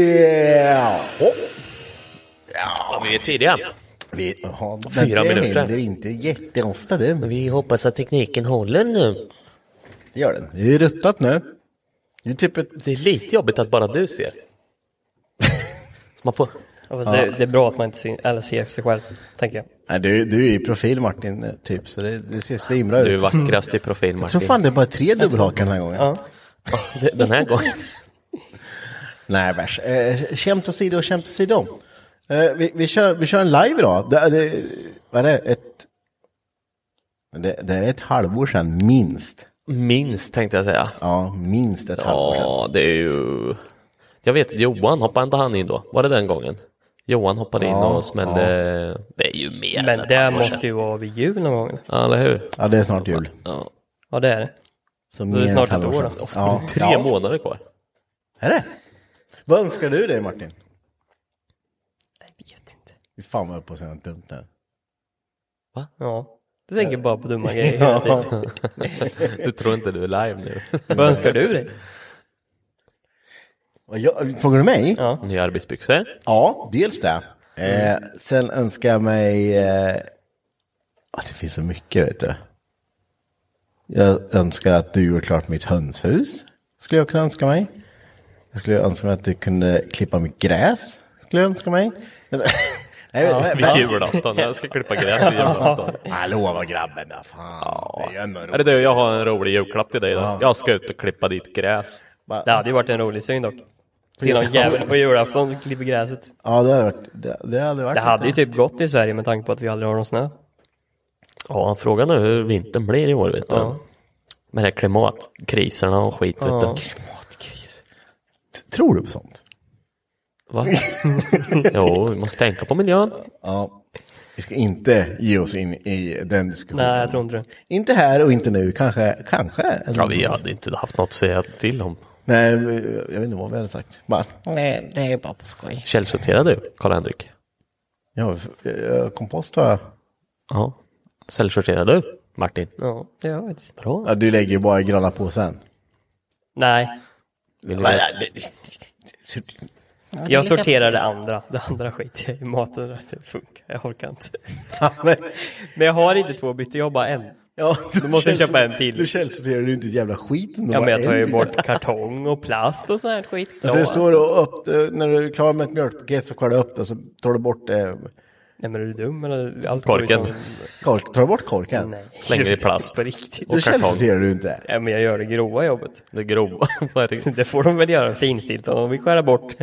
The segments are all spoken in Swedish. Jaha. Ja, vi är tidiga. Vi, jaha, men Fyra det minuter. händer inte jätteofta du. Vi hoppas att tekniken håller nu. Det gör den. Det är ruttat nu. Det är typ ett... Det är lite jobbigt att bara du ser. Så man får... Ja, fast det, det är bra att man inte syn, eller ser sig själv, tänker jag. Nej, du, du är i profil Martin, eh, typ, så det, det ser svinbra Du är ut. vackrast i profil, Jag tror Martin. fan det är bara tre dubbelhakar den här gången. Det- Den här gången. Nej, värst. Eh, Skämt åsido, skämt åsido. Eh, vi, vi, kör, vi kör en live idag. Det, det, vad är det? Ett, det, det är ett halvår sedan, minst. Minst, tänkte jag säga. Ja, minst ett halvår sedan. Ja, det är ju... Jag vet, Johan hoppade inte han in då? Var det den gången? Johan hoppade in och smällde... Det är ju mer än Men ett det halvår sedan. måste ju vara vid jul någon gång. Ja, eller hur? Ja, det är snart jul. Ja. Ja, det är det. Så är mer än snart ett halvår år sedan. då. Ja. Tre Ja. månader kvar. Är det? Vad önskar du dig Martin? Jag vet inte. Fy Fan vad jag höll på att säga något dumt nu. Ja. Du tänker bara på dumma grejer hela tiden. Du tror inte du är live nu? Vad önskar du dig? Och jag, frågar du mig? Ja, Nya arbetsbyxor? dels det. Eh, sen önskar jag mig... Eh, ah, det finns så mycket vet du. Jag önskar att du gjorde klart mitt hönshus. Skulle jag kunna önska mig. Jag skulle önska mig att du kunde klippa mitt gräs. Skulle jag önska mig. Nej, men- Vid julafton, jag ska klippa gräs vid julafton. Hallå vad grabben där, fan. Det är ändå Är det roligt. du, jag har en rolig julklapp till dig. Då. Jag ska ut och klippa ditt gräs. Det hade ju varit en rolig syn dock. Se någon jävel på julafton som klipper gräset. Ja, det hade varit... Det, det hade varit Det hade ju typ gått i Sverige med tanke på att vi aldrig har någon snö. Ja, frågan är hur vintern blir i år, vet du. Med det här klimatkriserna och skit, vet du. Matkris. Tror du på sånt? Va? jo, vi måste tänka på miljön. Ja. Vi ska inte ge oss in i den diskussionen. Nej, jag tror inte det. Inte här och inte nu, kanske. kanske. Eller- Ja, vi hade inte haft något att säga till om. Nej, jag vet inte vad vi hade sagt. Bara, nej, det är bara på skoj. Källsorterar du, Karl-Henrik? Ja, eh, kompost har jag. Ja. Källsorterar du, Martin? Ja, det gör jag faktiskt. Bra. Ja, du lägger ju bara i gröna påsen. Nej, Vill du Men, veta? eh, det- det- jag sorterar det andra. Det andra skiter jag i. Maten och det funkar. Jag orkar inte. Ja, men- Men jag har inte två byten, jag har bara en. Ja, Då måste jag känns- köpa en till. Du källsorterar ju inte ett jävla skit. ändå, Ja, men bara jag tar ju en. bort kartong och plast och sånt här skit. Alltså, det står och upp, eh, när du är klar med ett mjölkpaket så skär du upp det och så tar du bort, eh, Nej, men är du dum eller? Allt Korken. går ju som- kork, tar du bort korken. Nej. Slänger i plast. På riktigt. Då Och kartong. källsorterar du inte. Ja, men jag gör det grova jobbet. Det grova. Vad är det? Det får de väl göra finstilt. Om de vill skära bort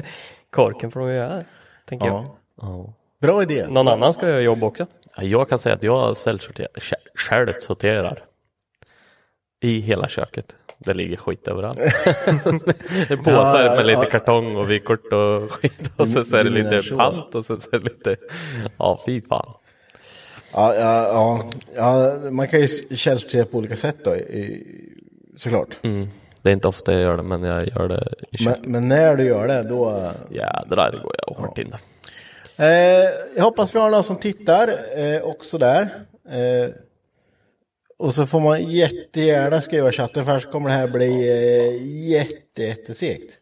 korken får de göra det. Tänker Ja. Ja. Bra idé. jag. Någon annan ska göra jobb också. Ja, Jag kan säga att jag källsorterar- kä- självsorterar. I hela köket. Det ligger skit överallt. det är påsar Ja, ja, med ja. lite kartong och vykort och skit. Och sen så är det Du menar lite så. pant och sen så är det lite... Ja, fy fan. Ja, ja, ja, ja, man kan ju källsortera på olika sätt då, i, såklart. Mm. Det är inte ofta jag gör det, men jag gör det i köket. Men, men när du gör det, då... Jädrar, det går jag hårt in där. Eh, jag hoppas vi har någon som tittar eh, också där. Eh, och så får man jättegärna skriva i chatten, för annars kommer det här bli eh, jätte, jättesegt.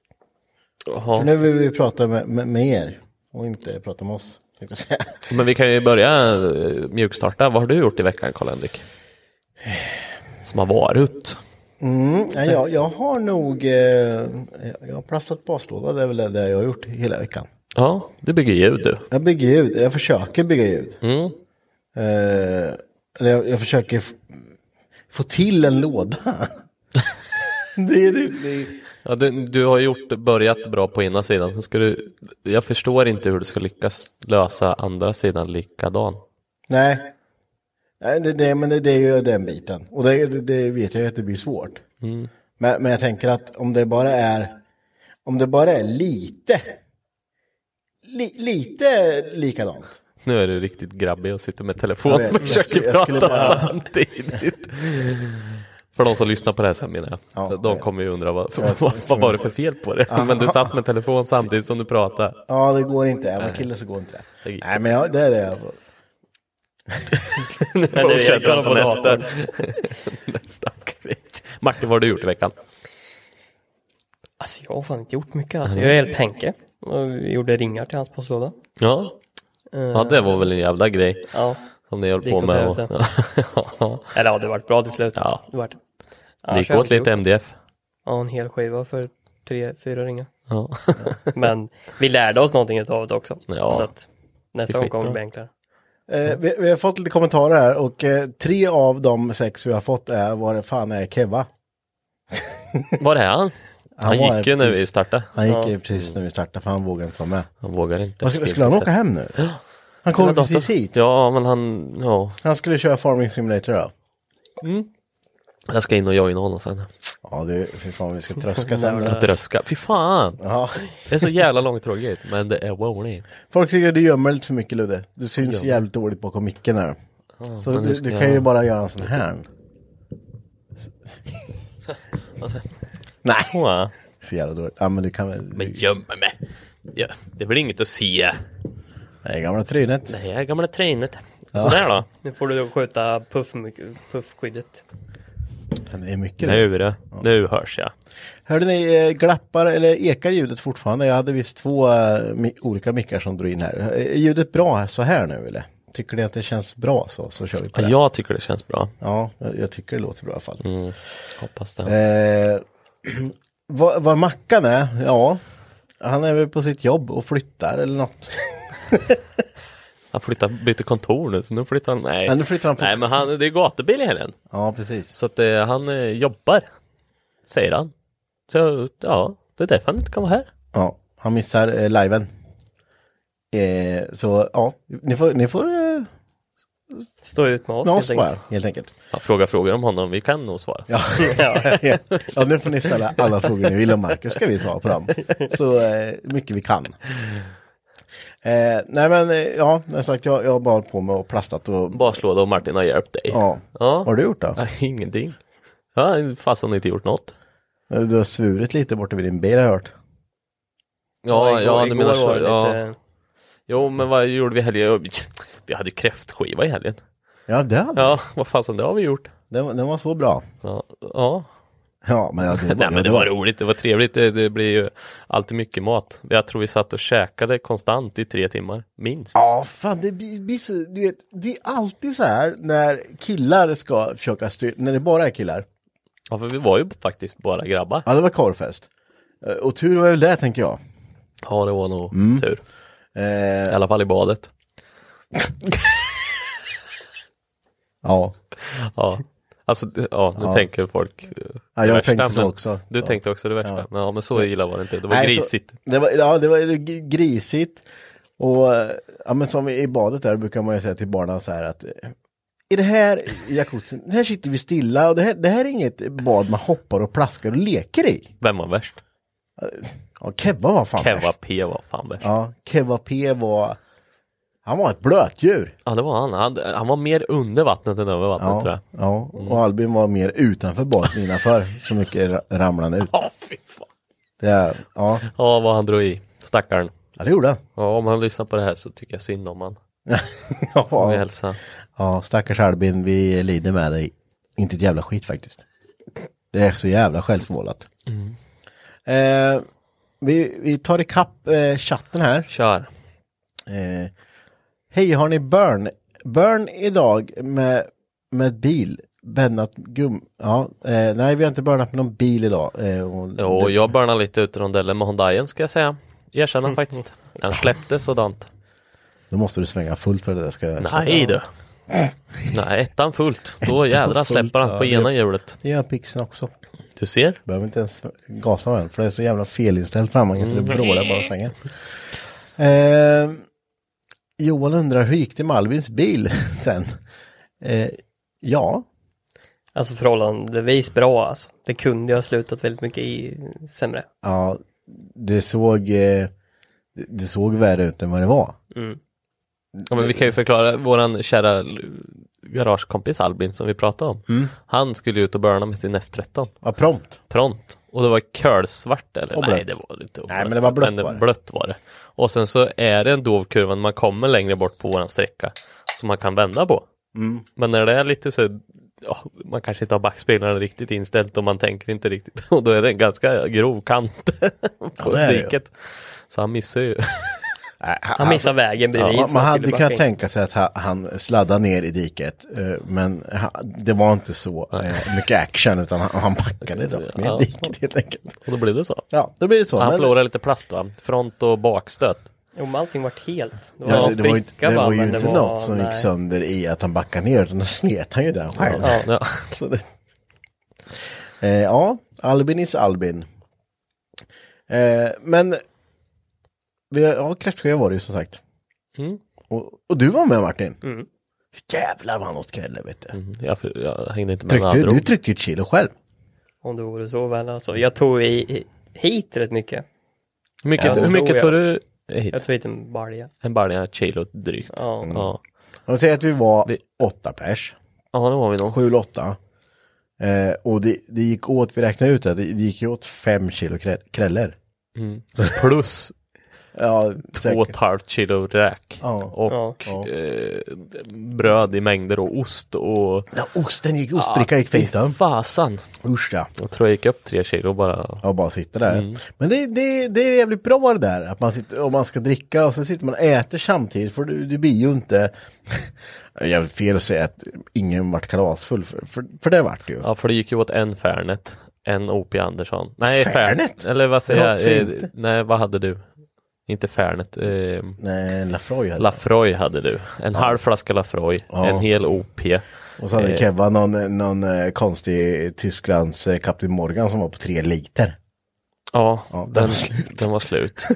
För Jaha. nu vill vi prata med, med, med er och inte prata med oss. tänkte jag säga. Men vi kan ju börja eh, mjukstarta. Vad har du gjort i veckan, Karl-Henrik? Som har varit? Nej, jag, jag har nog... Eh, jag har plastat baslåda, det är väl det jag har gjort hela veckan. Ja, du bygger ljud du. Jag bygger ljud, jag försöker bygga ljud. Mm. Eh, eller jag, jag försöker f- få till en låda. det är typ det. Ja, du, du har gjort, börjat bra på ena sidan, sen ska du, jag förstår inte hur du ska lyckas lösa andra sidan likadan. Nej. Nej, det, det, men det, det är ju den biten. Och det, det, det vet jag ju att det blir svårt. Mm. Men, men jag tänker att om det bara är, om det bara är lite, li, lite likadant. Nu är du riktigt grabbig och sitter med telefonen Jag vet, och jag försöker skulle- jag skulle prata bara- samtidigt. För de som lyssnar på det här sen menar jag. Ja, jag de vet. kommer ju undra vad, vad, vad var det för fel på det? Men du satt med telefon samtidigt som du pratade. Ja, det går inte. Är man kille så går inte det. gick Nej, men jag, det är det jag... jag kollar på nästa. datorn. nästa grej. Martin, vad har du gjort i veckan? Alltså jag har fan inte gjort mycket. Alltså, jag hjälpte Henke. Och vi gjorde ringar till hans postlåda. Ja. ja, det var väl en jävla grej Ja. som ni höll Det på gick åt med. Och, helvete. ja. Eller ja, det vart bra till slut. Ja. Det vart. Det Annars gick har jag åt inte lite gjort- MDF. Ja, en hel skiva för tre, fyra ringar. Ja. Men vi lärde oss någonting utav det också. Ja. Så att nästa Det är gång kommer det skitbra. bli enklare. Eh, vi, vi har fått lite kommentarer här och eh, tre av de sex vi har fått är vad det fan är Keva. Var är han? Han, var gick ju när precis- vi startade. Han gick ju precis när vi startade för han vågade inte vara med. Han vågar inte. Vad skulle, skulle han åka hem nu? Han kom Sina dator- precis hit. Ja, men han... Ja. Han skulle köra Farming Simulator då. Jag ska in och joina honom sen. Ja, det är fy fan vi ska tröska sen. Dröska. Fy fan! Ja. Det är så jävla långtråkigt. Men det är roligt. Folk tycker att du gömmer lite för mycket Ludde. Du syns jävligt dåligt bakom micken här. Så men du, nu ska du kan ju jag- bara göra en sån här. Nej. Så. Så jävla dåligt. Ja men du kan väl. Men gömmer mig. Ja, det blir inget att se. Det är gamla trynet. Det här gamla tränet. Sådär då. Nu får du då skjuta puff, puffskyddet. Det är mycket det. Nu då. Nu hörs jag. Hörde ni, eh, glappar eller ekar ljudet fortfarande? Jag hade visst två eh, mi- olika mickar som drog in här. Är ljudet bra så här nu eller? Tycker ni att det känns bra så, så kör vi på Ja, det. jag tycker det känns bra. Ja, jag, jag tycker det låter bra i alla fall. Mm, Hoppas det. Eh, vad, vad Mackan är? Ja, han är väl på sitt jobb och flyttar eller något. Han flyttar, byter kontor nu, så nu flyttar han... Nej, Ja, nu flyttar han på- nej men han, det är gatubil i helgen. Ja, precis. Så att eh, han eh, jobbar, säger han. Så ja, det är därför han inte kan vara här. Ja, han missar eh, liven. Eh, så ja, ni får, ni får eh, Stå ut med oss med oss helt bara enkelt. helt enkelt. Han frågar frågor om honom, vi kan nog svara. Ja. ja, nu får ni ställa alla frågor ni vill om Marcus ska vi svara på dem. Så eh, mycket vi kan. Eh, nej men eh, ja, som sagt jag, jag har bara hållit på med och plastat och... Baslåda och Martin har hjälpt dig. Ja. Ja. Vad har du gjort då? Ja, ingenting. Ja, fast han inte gjort något. Du har svurit lite borta vid din bil har jag hört. Ja, ja, igår, du igår menar så. var det Ja. lite... Jo, men vad gjorde vi i helgen? Vi hade ju kräftskiva i helgen. Ja, det hade Ja, vad fasen, det har vi gjort. den, var- den var så bra. Ja, ja. Ja, men, ja, det, Nej, ja, men det var roligt, det var trevligt. Det, det blir ju alltid mycket mat. Jag tror vi satt och käkade konstant i tre timmar, minst. Ja, fan det blir, blir så, du vet, det är alltid så här när killar ska försöka styra, när det bara är killar. Ja, för vi var ju faktiskt bara grabbar. Ja, det var korvfest. Eh, Och tur var väl det, tänker jag. Ja, det var nog Mm. tur. I Eh, alla fall i badet. ja. Ja, alltså, det- ja, nu tänker folk eh, det Ja, jag värsta, tänkte så men- också. Du Så. tänkte också det värsta. Ja. Ja. Men, ja, men så illa var det inte. Det var Nej, grisigt. Så, det var, ja, det var g- grisigt. Och eh, ja, men som i badet där brukar man ju säga till barnen så här att eh, i det här jacuzzin, här sitter vi stilla och det här, det här är inget bad man hoppar och plaskar och leker i. Vem var värst? Ja, Kebba var fan Keva värst. P var fan värst. Ja. Ja, Kebba P var, han var ett blötdjur. det var han. han. Han var mer under vattnet än över vattnet tror Ja, jag. ja, och Albin var mer utanför badet än innanför. Så mycket ra- ramlade han ut. Ja, fy fan. Det, är- ja, Ja, vad han drog i. Stackaren. ja, det gjorde han. Ja, om han lyssnar på det här så tycker jag synd om han. Och ja, hälsa. ja, stackars Albin, vi lider med dig. Inte ett jävla skit faktiskt. Det är så jävla självförvållat. Eh, vi, vi tar ikapp eh, chatten här. Kör. Eh, Hej, har ni Burn? Burn idag med, med bil. Bennat gum... Ja, eh, nej, vi har inte burnat med någon bil idag. Eh, och, Jo, jag börnade lite ut i rondellen med Hondaien ska jag säga. Erkänna faktiskt. Han släppte sådant. Då måste du svänga fullt för det där ska jag... Nej du. Nej, ettan fullt. Då jädra släpper han på ja, det- ena hjulet. Det gör pixeln också. Du ser? Behöver inte ens gasa med den, för det är så jävla felinställd framvagn så det Mm. vrålar bara och svänger. Eh, Johan undrar, hur gick det med Alvins bil sen? Eh, ja, Alltså förhållandevis bra alltså. Det kunde jag ha slutat väldigt mycket i sämre. ja, det såg... Eh, det- det såg värre ut än vad det var. Ja, men vi kan ju förklara. Våran kära l- garagekompis Albin som vi pratade om. Mm. Han skulle ju ut och börna med sin S13. Vad prompt. pront och det var kölsvart eller? Och Nej blött. det var det inte. Nej, men det var blött var det. blött var det. Och sen så är det en dov kurva när man kommer längre bort på våran sträcka som man kan vända på. Mm. Men när det är lite så ja, man kanske inte har backspeglarna riktigt inställt och man tänker inte riktigt och då är det en ganska grov kant på det är det ju. diket. Så han missar ju. Nej, Han missade vägen bredvid. Ja, som man han hade skulle kunnat backa in. tänka sig att ha- han sladdade ner i diket, eh, men ha- det var inte så eh, mycket action, utan han- han backade rakt ner Ja. i diket helt enkelt. Och då blir det så. Ja, då blir det så. Han men- förlorar lite plast va? Front och bakstöt. Jo, men allting vart helt. Det ja, en det, det var ju inte, spricka det bara, var ju men inte var- något som gick nej. sönder i att han backade ner, utan då slet han ju där själv. Ja. Ja. Så det... eh, ja, Albin is Albin. Eh, men, vi har, ja, kräftskiva var det ju som sagt. Mm. Och, och du var med Martin. Mm. Jävlar vad han åt krälle vet du. Jag, jag hängde inte med när Tryckte, han du drog. tryckte ju ett kilo själv. Om det vore så väl alltså. Jag tog i, i, hit rätt mycket. Hur mycket, Ja, det hur mycket tog tror du hit? Jag tog hit en balja. En balja, ett kilo drygt. Ja. Mm. Ja, De säger att vi var Vi- åtta pers, ja det var vi nog. sju eller åtta. Eh, och det, det gick åt, vi räknade ut det, det det gick ju åt fem kilo krä- krällor. Plus Ja, två och säkert. ett halvt kilo räk. Ja. Och Ja. Eh, bröd i mängder och ost och... Ja, osten gick, ostbrickan gick fint. Fy då. Fasan! Usch ja. Jag tror jag gick upp tre kilo bara. Jag bara sitter där. Mm. Men det, det, det är jävligt bra det där, att man sitter och man ska dricka och sen sitter man och äter samtidigt, för det, det blir ju inte... Det är jävligt fel att säga att ingen vart kalasfull, för, för, för det vart det ju. Ja, för det gick ju åt en Färnet. En O.P. Andersson. Nej, Färnet? Färnet! Eller vad Det säger hoppas jag jag? Eh, inte. nej, vad hade du? Inte Färnet. Eh, Nej, Lafroy hade Lafroy hade du. En halv flaska Lafroy. Ja. En hel O.P. Och så eh. hade Kevva någon, någon eh, konstig Tysklands eh, Captain Morgan som var på tre liter. Ja, Ja, den den, var slut. den var slut.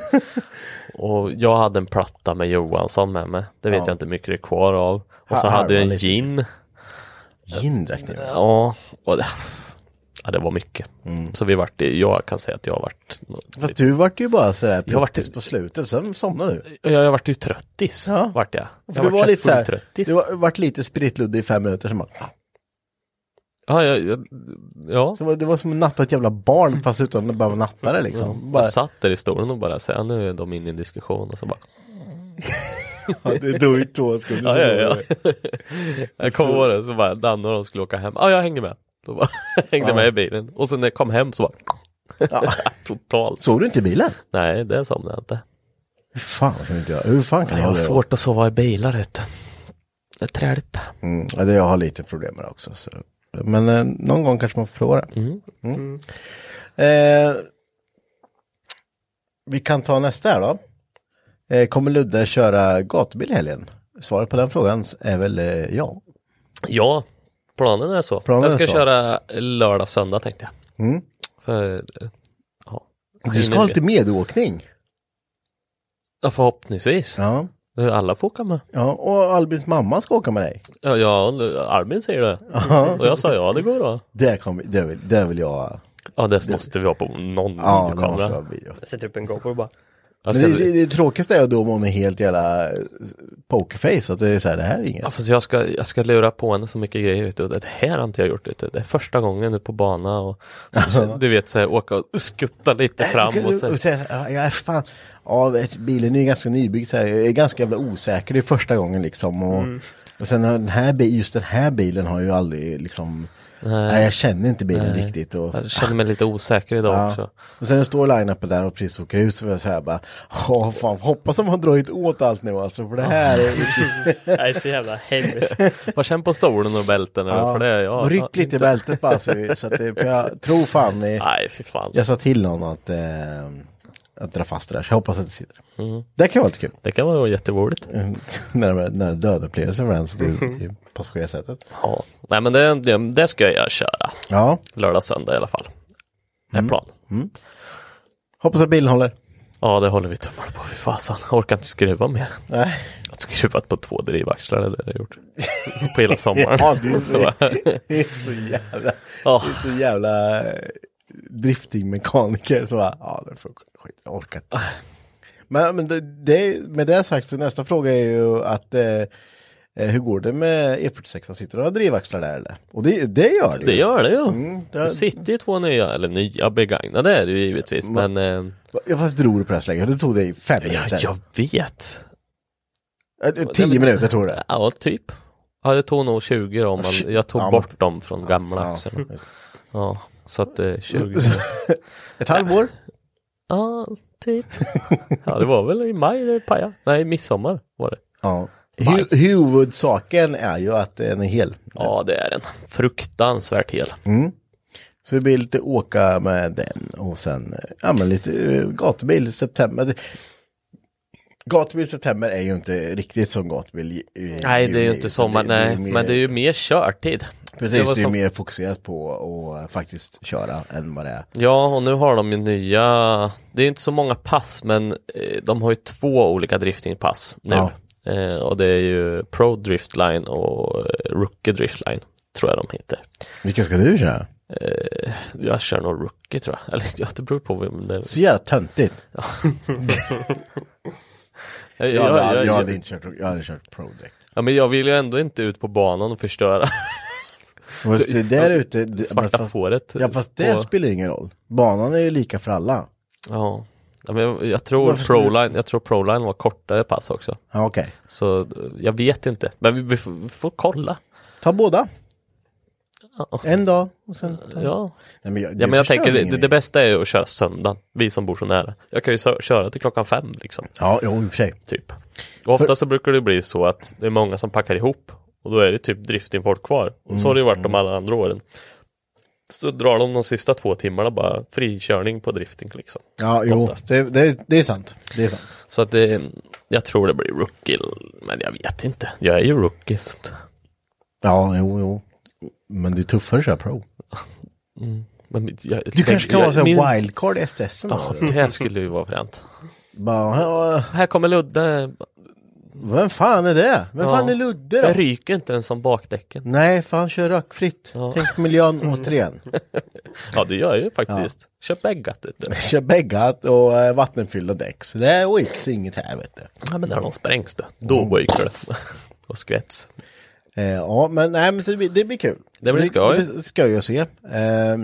och jag hade en platta med Johansson med mig. Det vet Ja. jag inte hur mycket det är kvar av. Och så Ha- hade jag halva en liter. gin. Gin drack ni väl? Ja, och det, Ja, det var mycket. Mm. Så vi vart, jag kan säga att jag har varit... Fast du vart ju bara sådär typ. Jag vart- plötsligt på slutet, sen somnade du. Jag, jag vart ju tröttis, Ja. vart jag. Jag För du vart var lite såhär, fulltröttis. du var, vart lite spritluddig i fem minuter, sen bara, Ja, jag, jag, ja. så var, det var som att natta ett jävla barn fast utan att behöva natta det liksom. Bara, Mm. Jag satt där i stolen och bara säger, ja, nu är de inne i en diskussion och så bara, ja, det dog i två sekunder. ja, ja, ja. jag kom på det, så bara Danne och de skulle åka hem, ja, jag hänger med. Då bara, hängde med i bilen och sen när jag kom hem så bara, totalt. Såg du inte i bilen? Nej, det somnade jag inte. Hur fan kan du inte göra? Hur fan kan Jag jag har det? svårt att sova i bilar vet du. Det är träligt. Mm, ja, det, jag har lite problem med det också. Så. Men eh, någon gång kanske man får prova det. Mm. Eh, vi kan ta nästa här då. Eh, kommer Ludde köra gatubil i helgen? Svaret på den frågan är väl eh, ja. Ja, planen är så. Planen jag är ska så. köra lördag, söndag tänkte jag. Mm. För, eh, ja. Du ska ha lite medåkning. Ja, förhoppningsvis. Ja. Alla får åka med. ja, och Albins mamma ska åka med dig. Ja, ja Albin säger det. Och jag sa ja, det går då. Det, kommer, det, vill, det vill jag. Ja, det måste vi ha på någon Ja, det måste vara kamera. video. Jag sätter upp en GoPro och bara. Jag, Men ska, det, det, det tråkigaste är då om hon är helt jävla eh, pokerface. Att det är så här, det här är inget. ja, fast jag, ska, jag ska lura på henne så mycket grejer. Vet du. Det här har inte jag gjort. Vet du. Det är första gången nu på bana. Och, så, du vet, så här, åka och skutta lite Äh, fram. Och så. så, Och säga, ja, jag är fan, ja, vet, bilen är ju ganska nybyggd, så här, jag är ganska jävla osäker, det är första gången liksom. Och, Mm. och sen har den här, bi- just den här bilen har ju aldrig liksom, nej. jag känner inte bilen riktigt. Och, jag känner mig lite osäker idag ja. också. och sen står line-upen där och precis åker ut så var jag så här bara, åh fan, hoppas de har dragit åt allt nu alltså, för det här är Nej, så jävla hemskt. Var känn på stolen och bälten. eller? för det, ja, ja, ryck lite i inte- bältet bara, så, så att det, för jag tror fan, vi, Nej, fy fan. jag sa till någon att, eh, att dra fast det där, så jag hoppas att det sitter. Mm. Det kan vara lite kul. Det kan vara jätteroligt. närmare, närmare dödupplevelsen för den så det är i passagerarsätet. Ja. Nej, men det, det, det ska jag köra. Ja, Lördag, söndag i alla fall. Det är Mm. plan. hoppas att bilen håller. Ja, det håller vi tummarna på. Fy fasen, jag orkar inte skruva mer. Nej. Jag har skruvat på två drivaxlar, det är det jag har gjort. På hela sommaren. Ja, det är så. så, det är så jävla, Ja. det är så jävla eh, driftingmekaniker som bara, ja det funkar, skit, jag orkar inte. Men, men det, det, med det sagt så nästa fråga är ju att eh, eh, hur går det med E46? Sitter du och har drivaxlar där eller? Och det, det gör du Mm, Det gör det ju. det- det sitter ju två nya, eller nya begagnade är det ju givetvis. Mm. Men eh, Jag varför drog du på det här så länge? Det tog dig fem ja, minuter. jag vet. Eh, Tio minuter tog det. Ja, typ. Ja, det tog nog 20 då, men jag Ja, tog men- bort dem från gamla Ja, axlarna. just det. Ja, så att eh, 20. Ett halvår? Ja, typ. Ja, det var väl i maj det pajade. Nej, midsommar var det. Ja. Hu- Huvudsaken är ju att den är hel. Ja, det är den. Fruktansvärt hel. Mm. Så det blir lite åka med den och sen eh, ja, men lite eh, gatubil i september. Det- Gatubil i september är ju inte riktigt som gatubil i i Nej, det är ju juni, inte utan sommar, det- det är nej. mer- Men det är ju mer körtid. Precis, det, var är ju som- mer fokuserat på att faktiskt köra än vad det är. Ja, och nu har de ju nya, det är inte så många pass, men eh, de har ju två olika driftingpass nu. Ja. Eh, och det är ju Pro Driftline och eh, Rookie Driftline, tror jag de heter. Vilken ska du köra? Jag kör nog Rookie tror jag, eller ja, det beror på vem det är. Så jävla töntigt. Jag, Jag, hade- jag, jag, jag, hade inte kört, jag hade kört Pro Deck. ja, men jag vill ju ändå inte ut på banan och förstöra Fast det där ute, det, svarta fast, fåret. ja, fast det på- spelar ingen roll. Banan är ju lika för alla. ja. Ja, men jag, jag tror Varför skulle du- Proline, jag tror Proline var kortare pass också. Ja, Okej, Så eh, jag vet inte, men vi, vi, får, vi får kolla. ta båda. En dag och sen... Ta... Ja, Nej, men jag, Ja, men jag förstör tänker väl det, ingen det mer. bästa är ju att köra söndagen, vi som bor så nära. Jag kan ju sö- köra till klockan fem liksom, Ja, jo, i och för sig. typ. Och ofta så brukar det bli så att det är många som packar ihop och då är det typ driftingfolk kvar. Och så har det ju varit Mm, de alla andra åren. Så drar de de sista två timmarna bara frikörning på drifting liksom. Ja, jo, Oftast. det, det, det är sant. Det är sant. Så att det, jag tror det blir rookie, men jag vet inte. Jag är ju rookie. Så att, Ja, jo, jo. Men det är tuffare att köra pro. men jag, Du kanske kan vara så min- här wildcard i STS. Ja, det här skulle ju vara fränt. Bara, ja, Här kommer Ludde. Vem fan är det? Vem fan är Ludde Det då? ryker inte ens som bakdäcken. Nej, för han kör rökfritt. Tänk miljön Mm. återigen. Ja, det gör jag ju faktiskt. Köp äggat vet du. Kör bäggat och eh, vattenfyllda däck. Så det är Wix inget här vet du. Ja, men när de sprängs då. Då ryker det. Och skvätts. Eh, ja, men, nej, men så det, blir, det blir kul. Det blir skoj. Det blir skoj att se. Eh,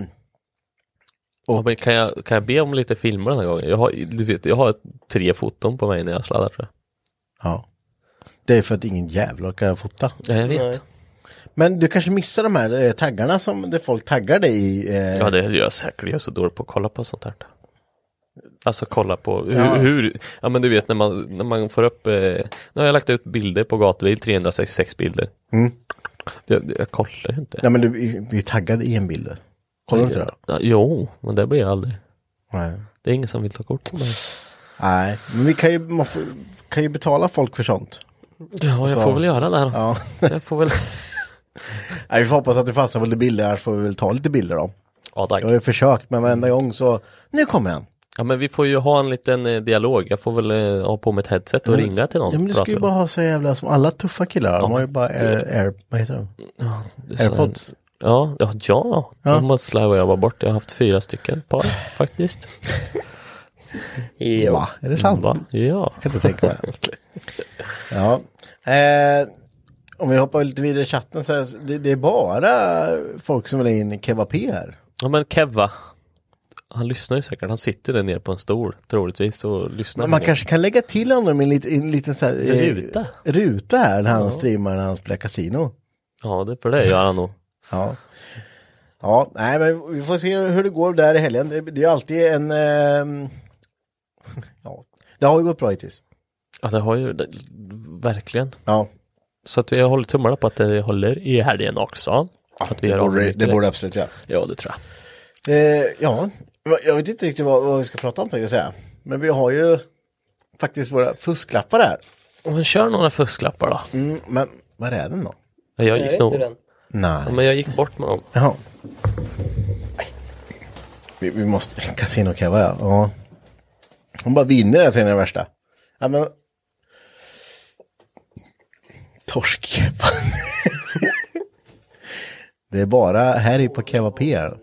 Ja, men kan, jag, kan jag be om lite filmer den här gången? Jag har, du vet, jag har tre foton på mig när jag sladdar tror jag. ja. Det är för att ingen jävla kan fota. Ja, jag vet. Men du kanske missar de här eh, taggarna som det folk taggar dig i. Eh, Ja, det gör jag säkert. Jag är så dålig på att kolla på sånt här. Alltså kolla på hur, Ja. ja. hur ja men du vet när man, när man får upp, eh, nu har jag lagt ut bilder på gatubil, 366 bilder. Jag, jag kollar ju inte. Nej men du vi är taggad i en bild. Kollar du inte det? Ja, jo, men det blir jag aldrig. Nej. Det är ingen som vill ta kort på mig. Nej, men vi kan ju, man får, kan ju betala folk för sånt. Ja, jag Så. får väl göra det här. då. Ja. Jag får väl. Nej, vi får hoppas att du fastnar på lite bilder, annars får vi väl ta lite bilder då. Ja, tack. Jag har ju försökt, men varenda gång så, nu kommer den. Ja, men vi får ju ha en liten eh, dialog. Jag får väl eh, ha på mig ett headset och ringa till någon. Ja, men du Prata ska ju med bara ha så jävla som alla tuffa killar, de Ja, har ju bara air, air, vad heter de? någon. Så- Airpods. Ja, ja, ja. Ja. de måste slarvar jag bara bort. Jag har haft fyra stycken par faktiskt. Jo. Va? Är det sant? Va? Ja. Jag kan inte tänka mig det. Ja. Eh, om vi hoppar lite vidare i chatten så här, det, det är bara folk som vill ha in kebapé här. Ja men Kevva. Han lyssnar ju säkert. Han sitter där nere på en stol troligtvis och lyssnar. Men man på- kanske kan lägga till honom i en, lit, i en liten så här, eh, Ruta. ruta här när han streamar när han spelar kasino. Ja, det, för det gör han nog. Ja. Ja, nej men vi får se hur det går där i helgen. Det, det är ju alltid en... ehm, ja, det har ju gått bra hittills. Ja, det har ju det, verkligen. Ja, Så att vi håller tummarna på att det håller i helgen också. Att vi gör av med mycket. absolut göra. Ja, det tror jag. Eh, ja, va- jag vet inte riktigt vad, vad vi ska prata om tänkte jag säga. Men vi har ju faktiskt våra fusklappar här. Men kör några fusklappar då. Mm, men var är den då? Ja, Jag gick nog. Ja, Nej. men jag gick bort med dem. Jaha. Vi, vi måste, Casino Keva ja. ja. Hon bara vinner den sen är det värsta. Ja men. Torsk Keva. Det är bara här i på Keva P här.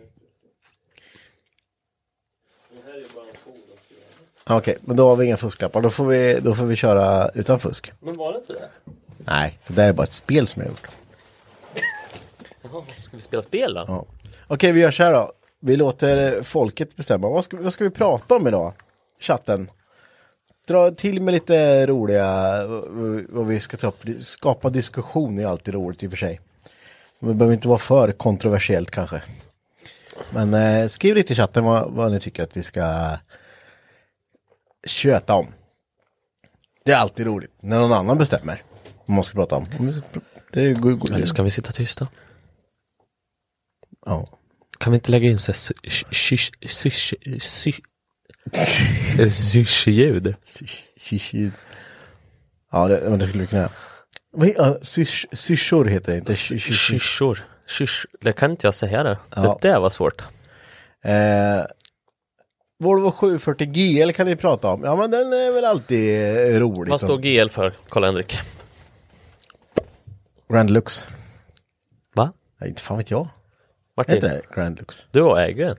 Ja, Okej, men då har vi inga fusklappar. Då får vi, då får vi köra utan fusk. Men var det inte det? Nej, det där är bara ett spel som jag har gjort. Ska vi spela spel då? Ja. Okej, vi gör så här då. Vi låter folket bestämma. Vad ska, vad ska vi prata om idag? Chatten. Dra till med lite roliga, v- vad vi ska ta upp. Skapa diskussion är alltid roligt i och för sig. Men det behöver inte vara för kontroversiellt kanske. Men eh, skriv lite i chatten vad, vad ni tycker att vi ska köta om. Det är alltid roligt när någon annan bestämmer vad man ska prata om. Om vi ska pr- Det är go- go- Eller ska vi sitta tysta? ja. Kan vi inte lägga in så här sy- sy- sy- sy- sy- sysch-ljud? Syrsljud. Ja, det, men det skulle vi kunna göra. Vad he- ja, syrs- Syrsor heter det inte. Syrs- syrs- syrs. Syrsor. Syrs. Det kan inte jag säga det. Ja. Det där var svårt. Eh, Volvo 740 GL kan ni prata om. Ja, men den är väl alltid eh, rolig. Vad står GL för, Karl-Henrik? Grand Lux. Va? Nej, inte fan vet jag. Heter Martin? det Grand Lux? Du har äger den.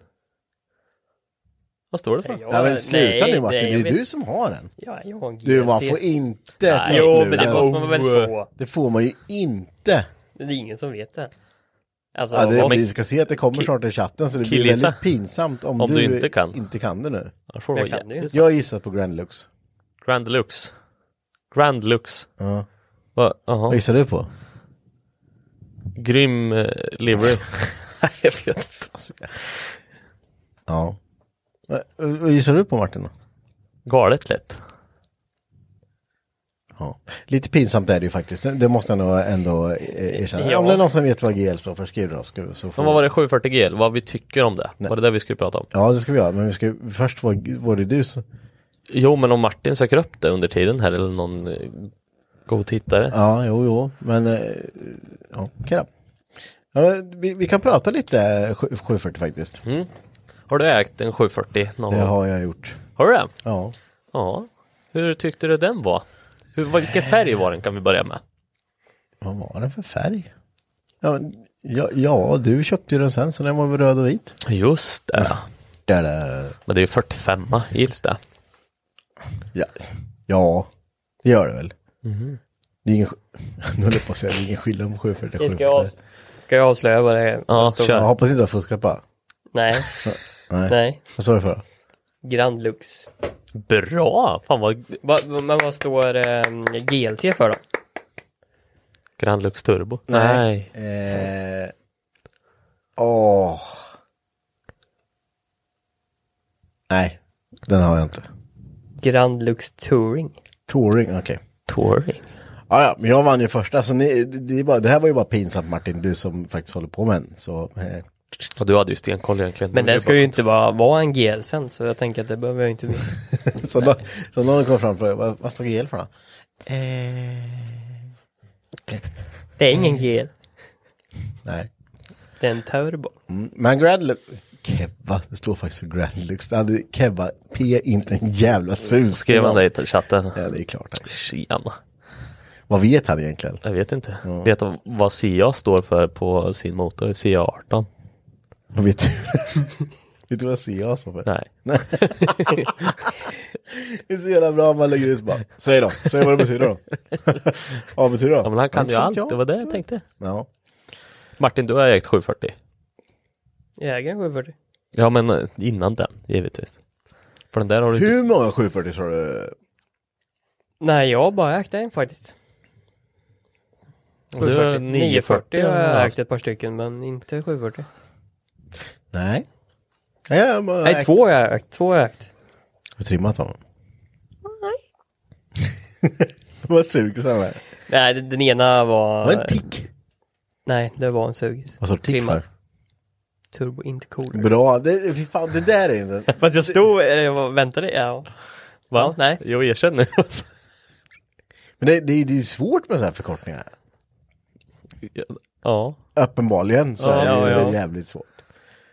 Vad står det för? Ja, men sluta nu Martin, nej, det är jag vet- du som har den. Ja, jag har en GT. Du, man får inte ta Nej, upp Jo, nu men det den. måste man väl få. Det får man ju inte. Det är ingen som vet det. Alltså, Alltså, vad- vi ska se att det kommer Ki- snart i chatten så det blir killgissa. väldigt pinsamt om, Om du inte kan. inte kan det nu. Jag får vara Jag kan det ju. jättesnabb. Jag gissar på Grand Lux. Grand Lux. Grand Lux. Ja. Va? Jaha. Vad gissar du på? Grym eh, livery. Alltså, jag vet inte. Ja. Vad- Vad gissar du på Martin då? Galet lätt. Ja. Lite pinsamt är det ju faktiskt. Det det måste jag nog ändå eh, erkänna. Ja. Om det är någon som vet vad GL står för, skriv det då. Ska vi- Så får Men vad var det 740 GL? Vad vi tycker om det? Var det det vi skulle prata om? Ja, det ska vi göra. Men vi ska först, vad var det du som... Jo, men om Martin söker upp det under tiden här eller någon eh, god tittare. Ja, jo, jo. Men, eh, ja, okej då. Ja, vi, vi kan prata lite eh, sju- 740 faktiskt. Har du ägt en 740 någon Det gång? har jag gjort. Har du det? Ja. Ja. Hur tyckte du den var? Hur, vad- vilken färg var den kan vi börja med? Vad var den för färg? Ja, men- ja, ja, du köpte ju den sen så den var väl röd och vit. Just det. Där, där. Men det är ju 45 gills det. Ja, ja, det gör det väl. Det är ingen, sk- nu höll jag på att säga det är ingen skillnad på 740 och Jag ska, jag, 740. ska jag avslöja vad det är? Ja, Jag kör. hoppas inte jag har fuskat bara. Nej, Nej. nej. Vad sa du för? Grand Lux. Bra! Fan vad Va, va- men vad står eh, GLT för då? Grand Lux Turbo. Nej. Nej. Eh, åh. Nej, den har jag inte. Grand Lux Touring. Touring, okej. Touring. Ja, ja, men jag vann ju första, så ni, det, är bara, det här var ju bara pinsamt Martin, du som faktiskt håller på med en. Så, eh, Ja, du hade ju stenkoll egentligen. Men Det var den ska ju bara- inte vara, vara en GL sen, så jag tänker att det behöver jag inte veta. så, då, så någon kom fram och frågade, vad, vad står GL för då? Eh, Det är ingen GL, Nej. Mm. det är en turbo. Men Grand Kebba, det står faktiskt för Grand Lux. Det hade Kebba P inte en jävla sus. Skrev han det i chatten? Ja, det är klart. tack. Tjena. Vad vet han egentligen? Jag vet inte. Vet du vad CIA står för på sin motor? CIA 18? Vad vet du? vet du vad CIA står för? Nej. Det är så jävla bra om man lägger ut bara. Säg då, säg vad det betyder då. vad betyder det? Ja, men han kan ju Inte allt. vet Det jag. var det jag tänkte. Ja. Martin, du har ägt 740. Jag äger en 740. Ja, men eh, innan den, givetvis. För den där har du inte... Hur många 740 sa du? Nej, jag har bara ägt en faktiskt. Du har 740. 940 har jag haft. ägt ett par stycken, men inte 740. Nej. Ja, jag bara, Nej, två har jag ägt. Två har jag ägt. Har du trimmat honom? Nej. vad sugis han är. Nej, den den ena var... Var det en tick? Nej, det var en sugis. Vad sa du tick Trimmad. för? Turbo, inte coolare. Bra, det, fy fan, det där är inte... Fast jag stod, eller jag var- väntade, ja. Va? Ja, nej. Jo, erkänn nu. Men det, det, är- det är ju svårt med sådana här förkortningar. ja. Uppenbarligen så Ja, är det ja, ju ja. jävligt svårt.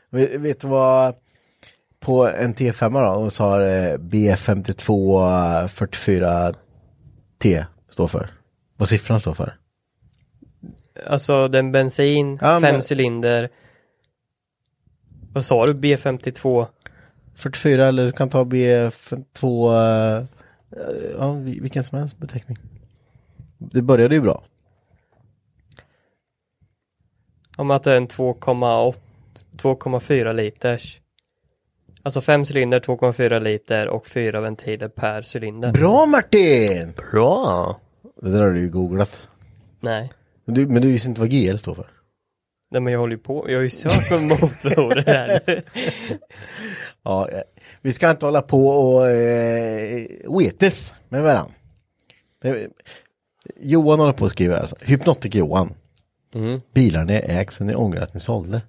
Vet, vet du vad? På en T5 då, de sa eh, B5244T står för. Vad siffran står för. Alltså den bensin, Ja, fem men- cylinder. Vad sa du? B52? 44 eller du kan ta B52, eh, ja, vi- vilken som helst beteckning. Det började ju bra. Om att det är en 2,8 2,4 liters. Alltså fem cylinder, 2,4 liter och fyra ventiler per cylinder. Bra Martin! Bra! Det där har du ju googlat. Nej. Men du, men du visste inte vad GL står för. Nej men jag håller ju på, jag har ju sökt på motorordet här. Ja, eh, vi ska inte hålla på och eh, oetes med varandra. Det, Johan håller på att skriva alltså. Hypnotic Johan. Mm. Bilar ni ägt som ni ångrar att ni sålde.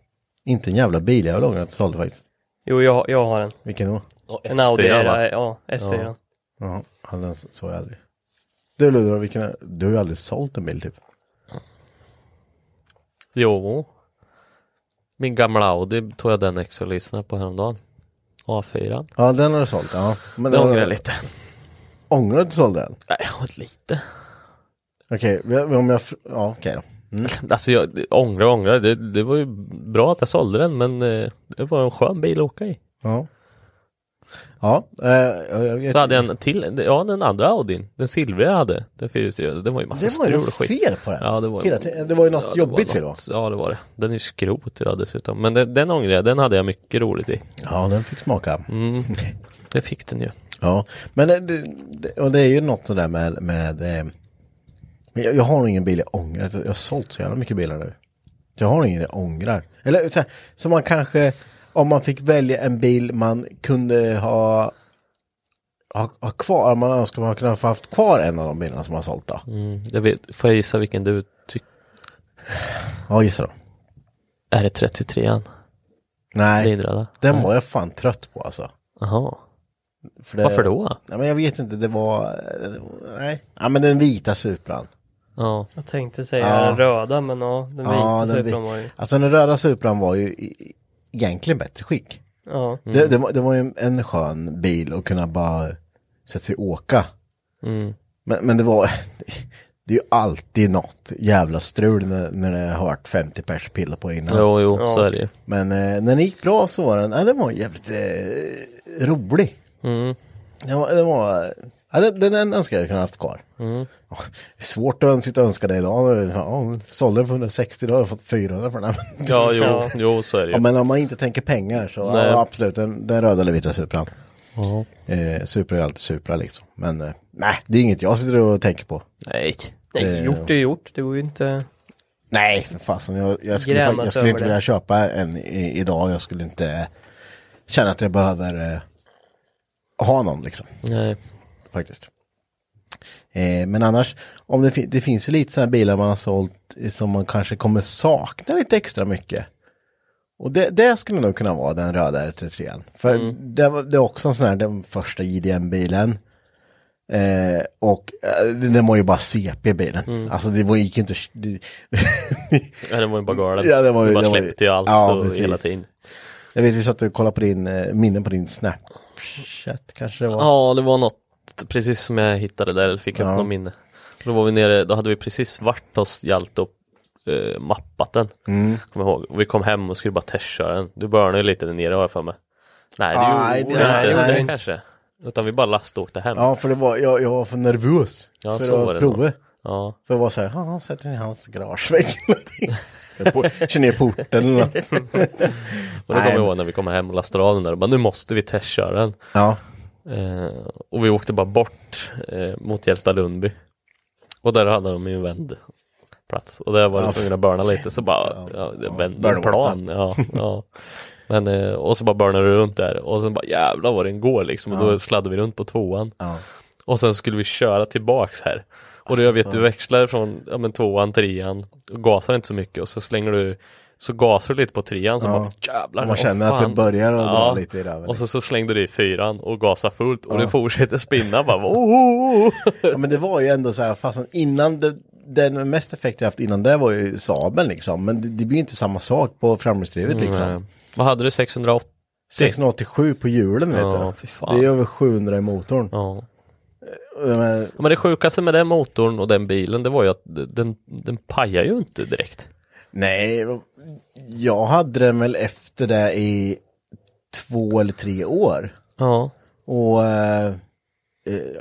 Inte en jävla bil jag ångrar att ni sålde faktiskt. Jo jag, jag har en. Vilken då? Och En Audi S4, va? era, ja, S4. Ja. Ja, han- den såg jag aldrig. Du Ludde, vilken är- du har ju aldrig sålt en bil typ. Jo. Min gamla Audi tog jag den extra lyssnade på häromdagen. A4. Ja, den har du sålt. Ja. Men Det den- ångrar jag lite. Ångrar du att du sålde den? Nej, jag har lite. Okej, vi- om jag... fr- Ja, okej då. Alltså jag det- ångrar och ångrar. Det, det var ju bra att jag sålde den men eh, det var en skön bil att åka i. Ja. Ja, eh, jag, jag vet Så hade jag en till, ja den andra Audin, den silvriga jag hade, den fyrhjulsdrivna, den var ju massa Det var ju strul och något skit. fel på den. Ja, det var, Hela tiden- det var ju något jobbigt fel, va? något- Ja det var det. Den är ju skrot idag dessutom. Men den, den ångrar jag, den hade jag mycket roligt i. Ja, den fick smaka. Mm. Det fick den ju. Ja, men det- det, det, och det är ju något sådär med, med eh, men jag, jag har nog ingen bil jag ångrar. Jag har sålt så jävla mycket bilar nu. Jag har ingen jag ångrar. Eller så, här, så man kanske, om man fick välja en bil man kunde ha, ha, ha kvar, man önskar man kunde ha haft kvar en av de bilarna som man har sålt då. Mm. Jag vet, får jag gissa vilken du tycker? Ja, gissa då. Är det 33an? Nej, Lindrada? den var jag fan trött på alltså. Jaha. För det, Varför då? Nej, men jag vet inte, det var, nej. Ja, men den vita Supran. Ja. Jag tänkte säga Ja. den röda men ja, den vita den Supran vi- var ju. Alltså den röda Supran var ju i- i- egentligen bättre skick. Ja. Det, Mm. Mm. det, var, det var ju en, en skön bil att kunna bara sätta sig och åka. Men, men det var, det är ju alltid något jävla strul när, när det har varit 50 pers piller på innan. Jo, jo, så är det ju. Men eh, när det gick bra så var den, ja, den var jävligt eh, rolig. Mm. Den var, den, var, ja, den, den, den önskar jag kunna haft kvar. Mm. Ja, Svårt att sitta och önska det idag. Ja, sålde den för 160, då har jag fått 400 för den. här. Ja, jo, jo, så är det Ja, ju. men om man inte tänker pengar så Nej. ja, absolut, den, den röda eller vita Supran. Eh, supra är alltid Supra liksom. Men eh, nej, det är inget jag sitter och tänker på. Nej. Nej, Eh. gjort är gjort. Det var ju inte... Nej, för fasen. Jag, jag skulle, Grämas jag skulle över inte det. vilja köpa en i, idag. Jag skulle inte känna att jag behöver eh, ha någon liksom. Nej. faktiskt. Eh, men annars, om det, fin- det finns ju lite sådana bilar man har sålt eh, som man kanske kommer sakna lite extra mycket. Och det, det skulle nog kunna vara den röda R33. För Mm. det, var, det är också en sån här, den första JDM-bilen. Eh, och eh, den den var ju bara CP-bilen. Mm. Alltså det var, gick ju inte... att- Det, Ja, den var ju bara galen. Ja, den var ju- du bara den var ju- släppte ju allt Ja, och precis. hela tiden. jag vet, vi satt och kollade på din, eh, minnen på din Snapchat kanske det var. Ja, det var något precis som jag hittade där, eller fick upp Ja. något minne. Då var vi nere, då hade vi precis varit hos Hjalte och eh, mappat den. Mm. Kommer jag ihåg. Och vi kom hem och skulle bara testköra den. Du började ju lite där nere har jag för mig. Nej, det Aj, gjorde det- jag nej, inte det ens gjorde det inte. kanske. Utan vi bara laståkte hem. Ja. Ja, för det var, jag, jag var för nervös Ja, för så att var det nog. prova. Ja. För jag var så här, "Ja, han sätter den i hans garagevägg eller någonting. Jag på- Kör ner porten eller något. Och det kommer Nej. jag ihåg när vi kom hem och lastade av den där och bara nu måste vi testköra den. Ja, Eh, och vi åkte bara bort eh, mot Hjälsta Lundby. Och där hade de ju en vänd plats. Och där var Ja, det tvungna att burna lite så bara, ja, det vänd, burna bort plan. Ja, ja. Men, eh, och så bara burnade det runt där och sen bara jävlar vad den går liksom. Och då sladdade vi runt på tvåan. ja. Och sen skulle vi köra tillbaks här. Och då jag vet, du växlar från ja, men tvåan, trean, och gasar inte så mycket och så slänger du, så gasar du lite på trean så Ja. bara jävlar. Och man åh, känner att det fan. börjar att dra lite i röven. Och så, så slängde du i fyran och gasar fullt och det fortsätter spinna bara. Oh, oh, oh. ja, men det var ju ändå så här, fastän innan det, den mest effekt jag haft innan det var ju Saben liksom. Men det, det blir ju inte samma sak på framhjulsdrivet liksom. Vad hade du, 608? 687 på hjulen vet Ja, du. fy fan. Det är över 700 i motorn. Ja. Men, Men det sjukaste med den motorn och den bilen, det var ju att den, den pajar ju inte direkt. nej, jag hade den väl efter det i två eller tre år. Ja. Och... Eh, eh,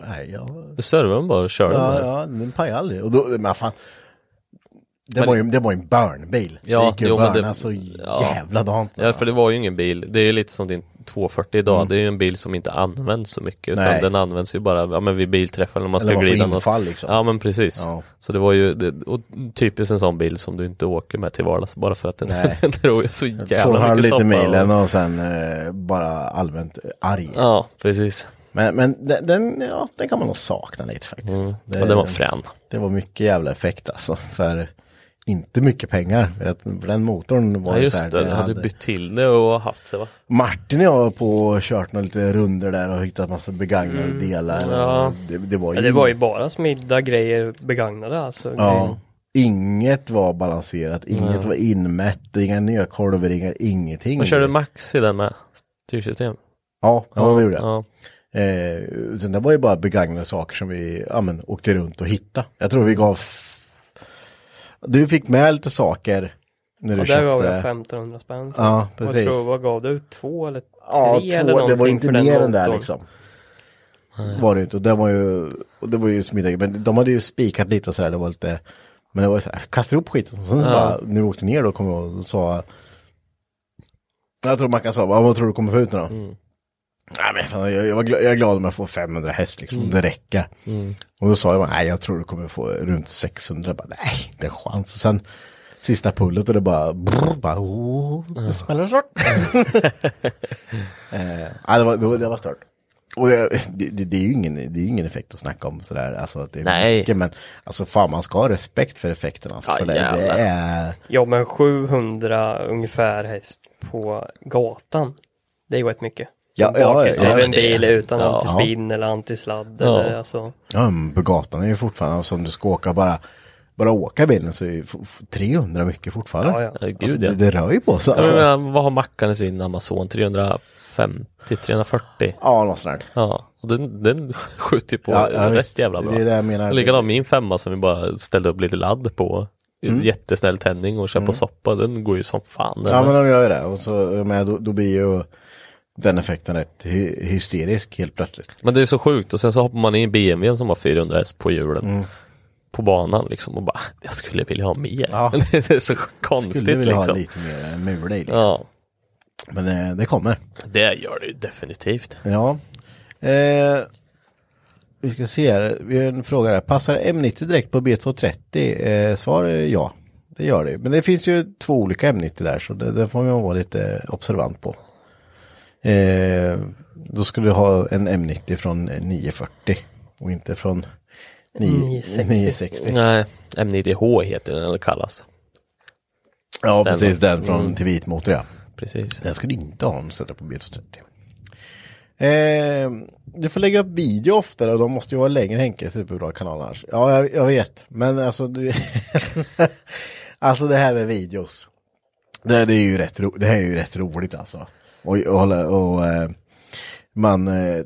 nej, jag Du servade den bara och körde den Ja, här. ja, den pajade aldrig. Och då, men fan. Det, Men- var ju, det var ju en burnbil. Ja, det gick ju jo, men att det- burna så ja. jävla dant. Ja, för det var ju ingen bil. Det är ju lite som din 240 idag. Det är ju en bil som inte används så mycket. Utan Mm. Nej. den används ju bara ja, men vid bilträffar när man ska Eller man får glida något. infall, liksom. Ja, men precis. Ja. Så det var ju det, och typiskt en sån bil som du inte åker med till vardags. Bara för att den, Nej. den drog ju så Tog jävla han mycket lite soppa. milen och sen eh, bara allmänt arg. Ja, precis. Men, men den, den, ja, den kan man nog sakna lite faktiskt. Det, och Mm. den var frän. det var mycket jävla effekt alltså. För inte mycket pengar. För att- för den motorn var Ja, ju just så här. det. Du hade bytt till det och haft sig va? Martin och jag var på och kört några lite runder där och hittat massa begagnade delar. Ja. Och Det, det var ju Ja, det var ju bara smidda grejer begagnade alltså. Ja. Inget var balanserat, inget var inmätt, inga nya kolvringar, ingenting. Man körde Max i den med styrsystem. Ja, ja, vi gjorde det. Ja. Eh, utan det var ju bara begagnade saker som vi ja, men, åkte runt och hittade. Jag tror vi gav... f- Du fick med lite saker när du Och där köpte. gav jag 1500 spänn. Ja, Och precis. Jag tror, vad gav du? Två eller tre Ja, eller två, någonting det var inte för den mer än det motorn. liksom. Var det inte, och det var ju, och det var ju smidigt. Men de hade ju spikat lite och sådär, det var lite, men det var ju såhär, kasta ihop skiten. Och sen bara, när vi åkte ner då kom jag och sa, jag tror Mackan sa, "Ja, vad tror du kommer få ut nu då? Nej men fan, jag, jag, var glad, jag är glad om jag får 500 häst liksom, det räcker. Och då sa jag bara, nej jag tror du kommer få runt 600. Jag bara, nej, inte en chans. Och sen sista pullet och det bara, brr, bara oh, det smäller snart. eh, ja, det, var, det, var, det var stört. Och det, det, det, är ju ingen, det är ju ingen effekt att snacka om sådär. Alltså, att det är Nej. Mycket, men alltså fan man ska ha respekt för effekten alltså. Ja, för det, det jävlar. är... Ja, men 700 ungefär häst på gatan. Det är ju rätt mycket. Ja, ja, ja, ja, en men det- bil utan typ. ja. antispinn eller antisladd Ja. eller alltså. Ja, men på gatan är ju fortfarande, alltså, om du ska åka bara, bara åka bilen så är ju f- f- 300 mycket fortfarande. Ja, ja. Ja, Gud, Alltså, ja. det, det rör ju på sig. Ja, Alltså. men, vad har Mackan i sin Amazon? 350 350, 340. Ja, något sånt där. Ja, och den, den skjuter ju på Ja, ja, visst. rätt jävla bra. Det är det jag menar. Likadant min femma som vi bara ställde upp lite ladd på. Mm. Jättesnäll tändning och kör på soppa, den går ju som fan. Mm. Ja, men de gör ju det. Och så, jag menar, då, då blir ju den effekten rätt hy- hysterisk helt plötsligt. Men det är så sjukt och sen så hoppar man in i BMWn som har 400 häst på hjulen. Mm. På banan liksom och bara, jag skulle vilja ha mer. Ja. det är så konstigt Skulle vilja ha liksom. lite mer eh, mula i. Liksom. Ja, Men eh, det kommer. det gör det ju definitivt. Ja. Eh, vi ska se här. Vi har en fråga här. Passar M90 direkt på B230? Eh, svar är ja. Det gör det. Men det finns ju två olika M90 där så det, det får man vara lite observant på. Eh, då ska du ha en M90 från 940 och inte från 9, 960. 960. Nej, M90H heter den eller kallas. Ja, Den precis. var- Den från till vit motor ja. Precis. Den ska du inte ha om du sätter på B230. Eh, du får lägga upp video oftare och de måste ju vara längre Henke, superbra kanal annars. Ja, jag, jag vet, men alltså du... alltså det här med videos. Det, det, är ju rätt ro, det här är ju rätt roligt alltså. Och, och, hålla- och eh, man... Eh,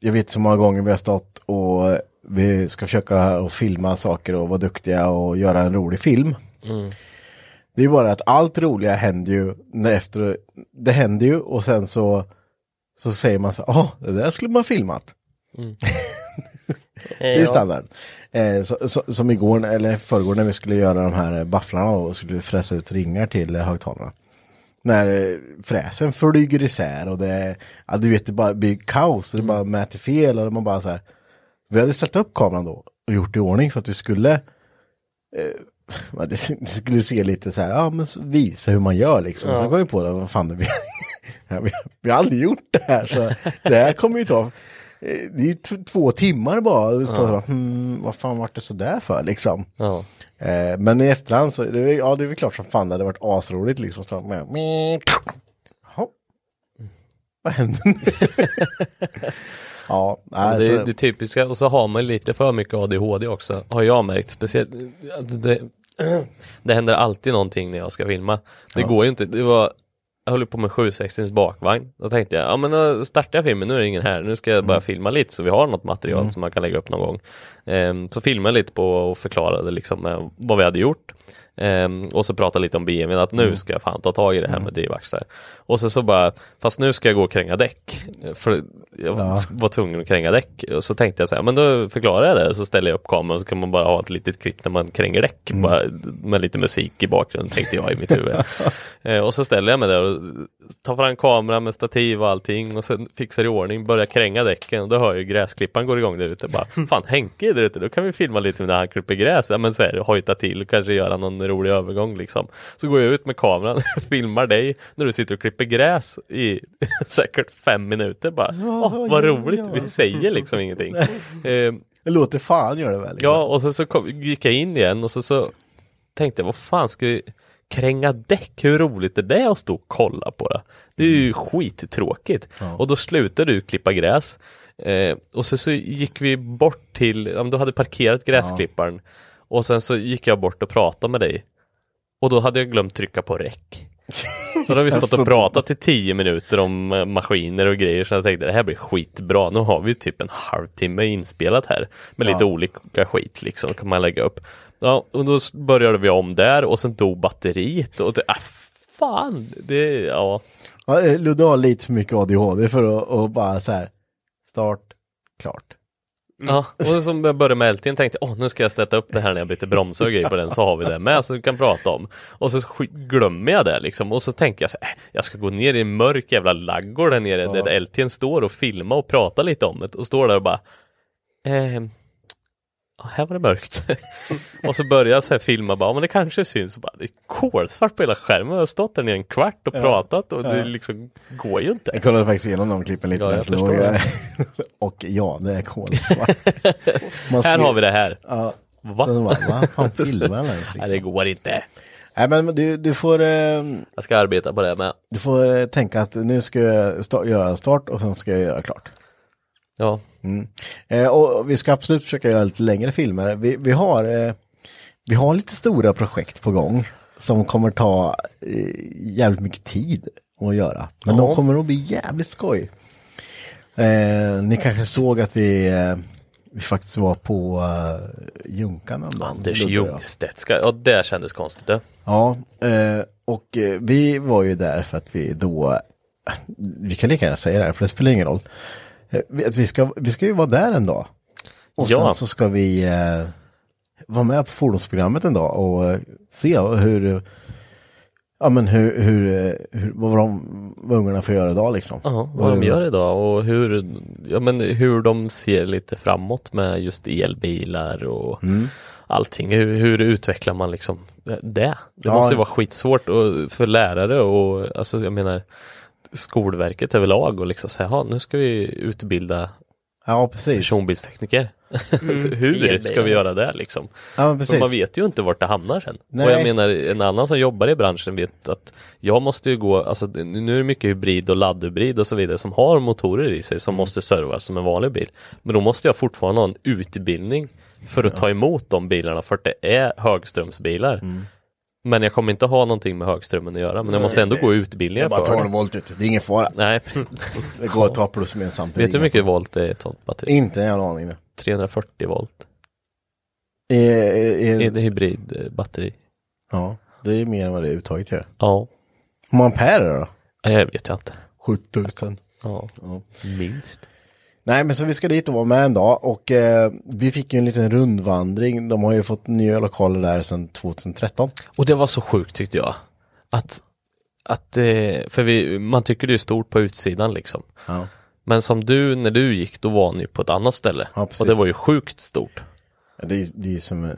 jag vet så många gånger vi har stått och eh, vi ska försöka och filma saker och vara duktiga och göra en rolig film. Det är ju bara att allt roliga händer ju när efter, det händer ju och sen så, så säger man så, ja det där skulle man filmat. Det är standard. Eh, så, så, som igår, eller förrgår när vi skulle göra de här eh, bafflarna och skulle fräsa ut ringar till eh, högtalarna. När eh, fräsen flyger isär och det, ja, du vet det bara blir kaos, det bara mäter fel och man bara så här. Vi hade ställt upp kameran då och gjort i ordning för att vi skulle Ja, Det det skulle se lite så här, ja men så visa hur man gör liksom. Och Sen kom vi på det, vad fan, det- vi, vi, vi har aldrig gjort det här. Så det här kommer ju ta, eh, det är ju t- två timmar bara. Och så, hmm, vad fan vart det så där för liksom? Ja. Eh, men i efterhand så, det, är- ja det är väl klart som fan det hade varit asroligt liksom. Så med, Jaha. Vad hände nu? ja, alltså- nej, det, så- det typiska, och så har man lite för mycket ADHD också, har jag märkt. Speciellt, alltså det, det händer alltid någonting när jag ska filma. Det går ju inte, det var, jag höll på med 760 bakvagn. Då tänkte jag, ja men då startar jag filmen, nu är det ingen här, nu ska jag bara filma lite så vi har något material som man kan lägga upp någon gång. Ehm, så filmade jag lite på och förklarade liksom eh, vad vi hade gjort. Ehm, och så pratade lite om BMWn, att nu ska jag fan ta tag i det här med drivaxlar. Och sen så bara, fast nu ska jag gå och kränga däck. För jag var tvungen att kränga däck. Och så tänkte jag så här, men då förklarar jag det, så ställer jag upp kameran så kan man bara ha ett litet klipp när man kränger däck. Bara, med lite musik i bakgrunden tänkte jag i mitt huvud. Eh, och så ställer jag mig där och tar fram kameran med stativ och allting och sen fixar i ordning, börjar kränga däcken och då hör jag ju gräsklipparen går igång där ute. Bara, fan Henke är där ute, då kan vi filma lite när han klipper gräs. Ja men så är det, hojta till och kanske göra någon rolig övergång liksom. Så går jag ut med kameran och filmar dig när du sitter och klipper gräs i säkert fem minuter bara. Åh, vad roligt, vi säger liksom ingenting. Eh, det låter fan gör det väl? liksom. Ja, och sen så kom, gick jag in igen och sen så tänkte jag, vad fan ska vi kränga däck? Hur roligt är det att stå och kolla på det? Det är ju skittråkigt. Och då slutade du klippa gräs. Eh, och sen så gick vi bort till, ja, men du hade parkerat gräsklipparen. Och sen så gick jag bort och pratade med dig. Och då hade jag glömt trycka på räck. Så då har vi stått och pratat i tio minuter om eh, maskiner och grejer. Så jag tänkte det här blir skitbra. Nu har vi typ en halvtimme inspelat här. Med lite olika skit liksom. Kan man lägga upp. Ja, och då s- började vi om där och sen dog batteriet. Och det, ah, fan. Det, ja. Ja, eh, Ludde har lite för mycket ADHD för att och bara så här, start, klart. Ja, Mm. och som jag började med LT'n tänkte åh nu ska jag sätta upp det här när jag byter bromsar och grejer på den så har vi det med så vi kan prata om. Och så sk- glömmer jag det liksom och så tänker jag så här, äh, jag ska gå ner i en mörk jävla laggård där nere där LT'n står och filma och prata lite om det och står där och bara ehm, ja, här var det mörkt. och så börjar jag så här filma bara, ja, men det kanske syns. Och bara, det är kolsvart på hela skärmen. Jag har stått där nere en kvart och pratat och det liksom går ju inte. Jag kollade faktiskt igenom de klippen lite. Ja, jag där, så förstår det. och ja, det är kolsvart. Man Här ser- har vi det här. Ja. Va? Sen bara, vad fan filmar den ens Nej, det liksom? går inte. Nej men du, du får, eh, Jag ska arbeta på det här med. du får eh, tänka att nu ska jag sta- göra start och sen ska jag göra klart. Ja, Eh, och vi ska absolut försöka göra lite längre filmer. Vi, vi, har, eh, vi har lite stora projekt på gång som kommer ta eh, jävligt mycket tid. att göra. Men de kommer nog bli jävligt skoj. Eh, ni kanske såg att vi, eh, vi faktiskt var på eh, Junkan häromdagen, Anders Ludde och jag. Ljungstedt ska... Ja, det kändes konstigt. Det. Ja, eh, och eh, vi var ju där för att vi då, vi kan lika gärna säga det här för det spelar ingen roll. Eh, vi- Att vi, ska, vi ska ju vara där en dag. Och Ja. sen så ska vi eh, vara med på fordonsprogrammet en dag och eh, se hur, eh, ja men hur, hur, eh, hur vad de, vad ungarna får göra idag liksom. Ja, vad de Och- gör idag och hur, ja, men hur de ser lite framåt med just elbilar och allting. Hur, hur utvecklar man liksom det? Det Ja. måste ju vara skitsvårt och, för lärare och alltså jag menar Skolverket överlag och liksom säga, "Ja, nu ska vi utbilda Ja, precis. personbilstekniker. Alltså, hur ska elbilar. vi göra det liksom? Ja, men För precis. man vet ju inte vart det hamnar sen. Nej. Och jag menar en annan som jobbar i branschen vet att jag måste ju gå, alltså nu är det mycket hybrid och laddhybrid och så vidare som har motorer i sig Mm. som måste servas som en vanlig bil. Men då måste jag fortfarande ha en utbildning för att ta emot de bilarna för att det är högströmsbilar. Mm. Men jag kommer inte ha någonting med högströmmen att göra men jag måste ändå gå Det är utbildningar bara för 12 det. volt ut, det är ingen fara. Nej, Det går att ta plus med samtidigt. vet du hur mycket volt det är i ett sånt batteri? Inte en jävla aning nu. 340 volt. Eh, eh, Är eh, det hybridbatteri? Ja, det är mer än vad det är uttaget gör. Ja, Hur många ampere då? jag vet jag inte. 7000. Ja, minst. Nej, men så vi ska dit och vara med en dag och eh, vi fick ju en liten rundvandring. De har ju fått nya lokaler där sedan 2013. Och det var så sjukt tyckte jag. Att, att eh, för vi, man tycker det är stort på utsidan liksom. Ja. Men som du, när du gick, då var ni på ett annat ställe. Ja, precis. och det var ju sjukt stort. Det är ju det är ju som, eh,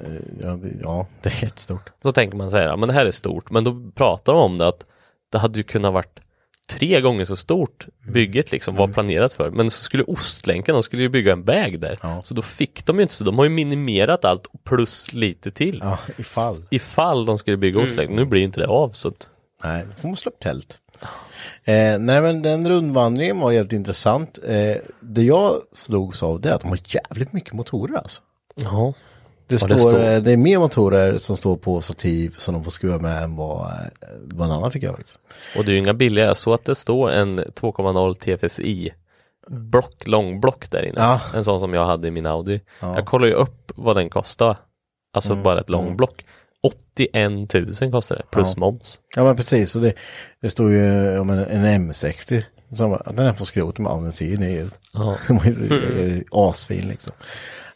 ja, det, ja, det är jättestort. Då tänker man så här, ja, men det här är stort. Men då pratar de om det att det hade ju kunnat varit tre gånger så stort Mm. bygget liksom var planerat för. Men så skulle Ostlänken, de skulle ju bygga en väg där. Ja. Så då fick de ju inte så, de har ju minimerat allt plus lite till. Ja, ifall. Ifall de skulle bygga Ostlänken, nu blir ju inte det av så att Nej, då får man slå upp tält. Eh, nej, men den rundvandringen var jävligt intressant. Eh, det jag slogs av det är att de har jävligt mycket motorer alltså. Ja. Det, Ja, står, det det, står- det är mer motorer som står på stativ som de får skruva med än vad, eh, vad en annan fick göra. faktiskt. Och det är ju inga billiga, jag såg att det står en 2,0 TFSI block, långblock där inne. Ja. En sån som jag hade i min Audi. Jag kollade ju upp vad den kostade. Alltså Mm. bara ett långblock. 81 000 kostar det, plus moms. Ja men precis, så det, det står ju om en, en M60. Som, bara, den här får skrot med, ja den ser ju ny ut. Ja. Den var ju så- eh, Asfin liksom.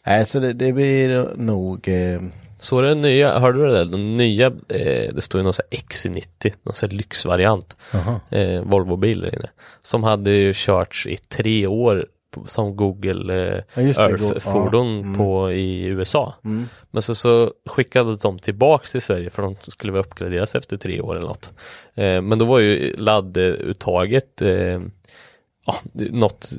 Nej, så det, det blir nog, eh, Så den nya, hörde du det där? Den nya, eh, det står ju någon sån här XC90, någon sån här lyxvariant. Eh, Volvo-bil där inne. Som hade ju körts i tre år på- som Google eh, Ja, just det, Go- Mm. Earth-fordon på i USA. Men så, så skickades de tillbaks till Sverige för de skulle väl uppgraderas efter tre år eller något. Eh, men då var ju ladduttaget eh, ja, det- något,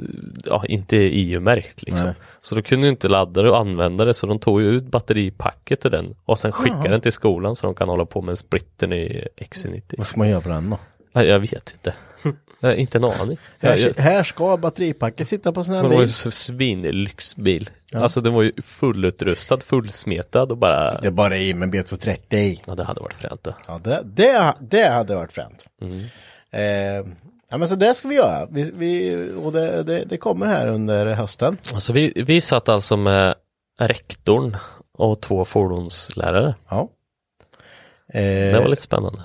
ja, inte EU-märkt liksom. Så då kunde ju inte ladda det och använda det så de tog ju ut batteripacket ur den och sen skickade den till skolan så de kan hålla på med splittern i vad XC90. ska man göra på den då? Nej, jag vet inte. Jag har inte en aning. Här, Jag, jag, här ska batteripacket sitta på sån här men det var ju bil. så svinlyxbil. Alltså den var ju fullutrustad, fullsmetad och bara... Det är bara i med en B230. Ja, det hade varit fränt det. Ja, det, det, det hade varit fränt. Eh, ja men så det ska vi göra. Vi, vi, och det, det, det kommer här under hösten. Alltså vi, vi satt alltså med rektorn och två fordonslärare. Ja. Det Eh, var lite spännande.